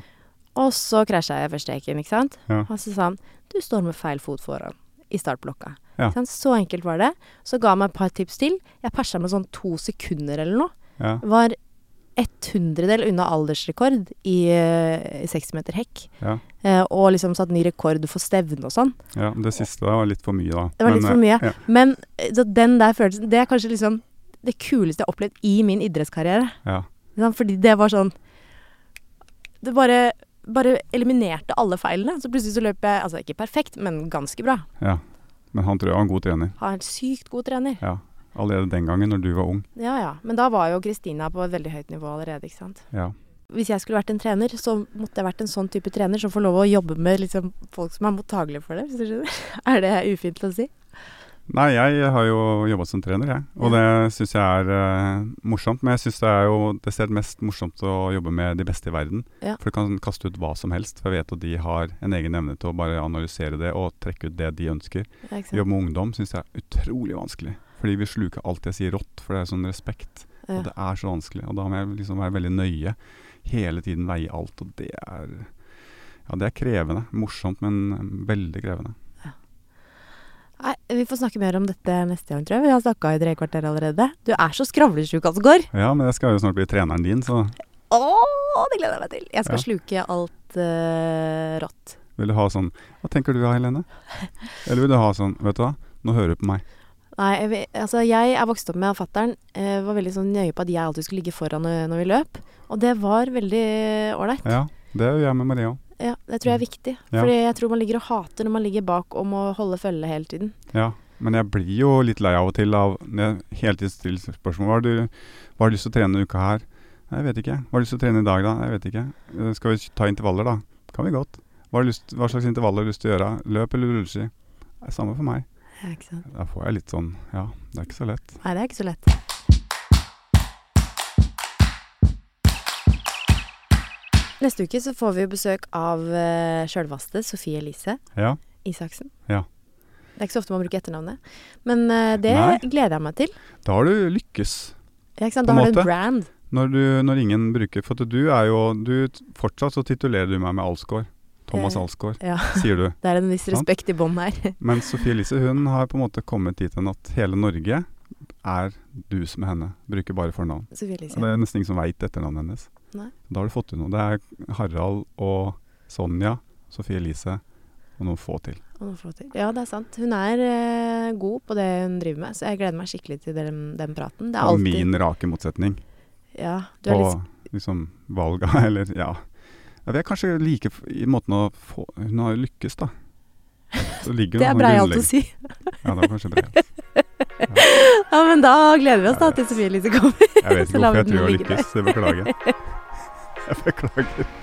Speaker 2: Og så krasja jeg i første hekken, ikke sant.
Speaker 1: Ja.
Speaker 2: Og så sa han du står med feil fot foran i startblokka.
Speaker 1: Ja.
Speaker 2: Ikke sant? Så enkelt var det. Så ga han meg et par tips til. Jeg persa med sånn to sekunder eller noe
Speaker 1: ja.
Speaker 2: var et hundredel unna aldersrekord i eh, seksmeter hekk.
Speaker 1: Ja.
Speaker 2: Eh, og liksom satt ny rekord for stevne og sånn.
Speaker 1: ja. Det siste da var litt for mye, da.
Speaker 2: Det var litt
Speaker 1: Men,
Speaker 2: for mye.
Speaker 1: eh,
Speaker 2: Men eh, så den der følelsen Det er kanskje liksom det kuleste jeg har opplevd i min idrettskarriere.
Speaker 1: Ja.
Speaker 2: Ikke sant? Fordi det var sånn Det bare, bare eliminerte alle feilene. Så plutselig så løp jeg Altså ikke perfekt, men ganske bra.
Speaker 1: ja. ja. Men han tror jeg var en god trener.
Speaker 2: Har en sykt god trener.
Speaker 1: Ja. Allerede den gangen, når du var ung.
Speaker 2: Ja ja. Men da var jo Kristina på et veldig høyt nivå allerede, ikke sant.
Speaker 1: Ja.
Speaker 2: hvis jeg skulle vært en trener, så måtte jeg vært en sånn type trener som får lov å jobbe med liksom, folk som er mottagelige for det. Hvis du skjønner. Er det ufint å si?
Speaker 1: Nei, jeg har jo jobbet som trener, jeg. Og det syns jeg er eh, morsomt. Men jeg syns det er jo desidert mest morsomt å jobbe med de beste i verden.
Speaker 2: Ja.
Speaker 1: For du kan kaste ut hva som helst. For jeg vet at de har en egen evne til å bare analysere det og trekke ut det de ønsker.
Speaker 2: Ja, ikke sant?
Speaker 1: Jobbe med ungdom syns jeg er utrolig vanskelig. Fordi vi sluker alt jeg sier rått, for det er sånn respekt.
Speaker 2: Ja.
Speaker 1: Og det er så vanskelig. Og da må jeg liksom være veldig nøye. Hele tiden veie alt. Og det er Ja, det er krevende. Morsomt, men eh, veldig krevende.
Speaker 2: Nei, vi får snakke mer om dette neste gang, tror jeg. Vi har snakka i tre kvarter allerede. Du er så skravlesjuk, altså, Asgård.
Speaker 1: Ja, men jeg skal jo snart bli treneren din, så
Speaker 2: Å, det gleder jeg meg til. Jeg skal
Speaker 1: Ja.
Speaker 2: sluke alt eh, rått.
Speaker 1: Vil du ha sånn Hva tenker du da, Helene? Eller vil du ha sånn Vet du hva, nå hører du på meg.
Speaker 2: Nei, jeg, vil- altså jeg er vokst opp med at fattern eh, var veldig sånn nøye på at jeg alltid skulle ligge foran eh, når, når vi løp. Og det var veldig eh, ålreit.
Speaker 1: Ja, det gjør jeg med Maria òg.
Speaker 2: Ja, det tror jeg er viktig.
Speaker 1: Mm. Ja.
Speaker 2: Fordi jeg tror man ligger og hater når man ligger bak og må holde følge hele tiden.
Speaker 1: Ja. Men jeg blir jo litt lei av og til av når jeg hele tiden stiller spørsmål. Hva har du, hva har du lyst til å trene denne uka her? Nei, jeg vet ikke. Hva har du lyst til å trene i dag, da? Jeg vet ikke. Eh, Skal vi ta intervaller, da? Kan vi godt. Hva, har du lyst, hva slags intervaller har du lyst til å gjøre? Løp eller rulleski? Det er samme for meg.
Speaker 2: Ja, ikke sant?
Speaker 1: Da får jeg litt sånn Ja, det er ikke så lett.
Speaker 2: Nei, det er ikke så lett. Neste uke så får vi jo besøk av uh, sjølvaste Sofie Elise
Speaker 1: Ja.
Speaker 2: Isaksen.
Speaker 1: Ja.
Speaker 2: Det er ikke så ofte man bruker etternavnet, men eh, det
Speaker 1: Nei.
Speaker 2: gleder jeg meg til.
Speaker 1: Da har du lykkes.
Speaker 2: Ja, ikke sant?
Speaker 1: På
Speaker 2: Da
Speaker 1: en
Speaker 2: har du
Speaker 1: måte.
Speaker 2: en brand.
Speaker 1: Når, du, når ingen bruker For at du er jo du, Fortsatt så titulerer du meg med Alsgaard. Thomas
Speaker 2: Eh,
Speaker 1: Alsgaard,
Speaker 2: ja.
Speaker 1: sier du.
Speaker 2: Det er en viss
Speaker 1: Sant.
Speaker 2: respekt i bånn her.
Speaker 1: Men Sophie Elise hun har på en måte kommet dit hen at hele Norge er du som er henne. Bruker bare fornavn.
Speaker 2: Sofie
Speaker 1: Og Det
Speaker 2: Elise.
Speaker 1: er nesten ingen som veit etternavnet hennes.
Speaker 2: Nei.
Speaker 1: Da har du fått til noe. Det er Harald og Sonja, Sophie Elise og noen få til.
Speaker 2: Å, nå får jeg til. Ja, det er sant. Hun er eh, god på det hun driver med, så jeg gleder meg skikkelig til den, den praten. Det er
Speaker 1: Og
Speaker 2: alltid
Speaker 1: min rake motsetning.
Speaker 2: Ja, du er litt
Speaker 1: Og liksom valga, eller ja. ja. Vi er kanskje like f- i måten å få Hun har jo lykkes, da. Så ligger hun
Speaker 2: Det er
Speaker 1: sånn
Speaker 2: breialt å
Speaker 1: grunnlegg-
Speaker 2: si.
Speaker 1: Ja, det var kanskje breialt.
Speaker 2: Ja, men da gleder vi oss da til Sofie Elise kommer.
Speaker 1: Jeg vet
Speaker 2: Så
Speaker 1: ikke
Speaker 2: lar
Speaker 1: hvorfor jeg
Speaker 2: vi den
Speaker 1: tror jeg
Speaker 2: ligge der.
Speaker 1: lykkes. Det beklager jeg. Jeg beklager.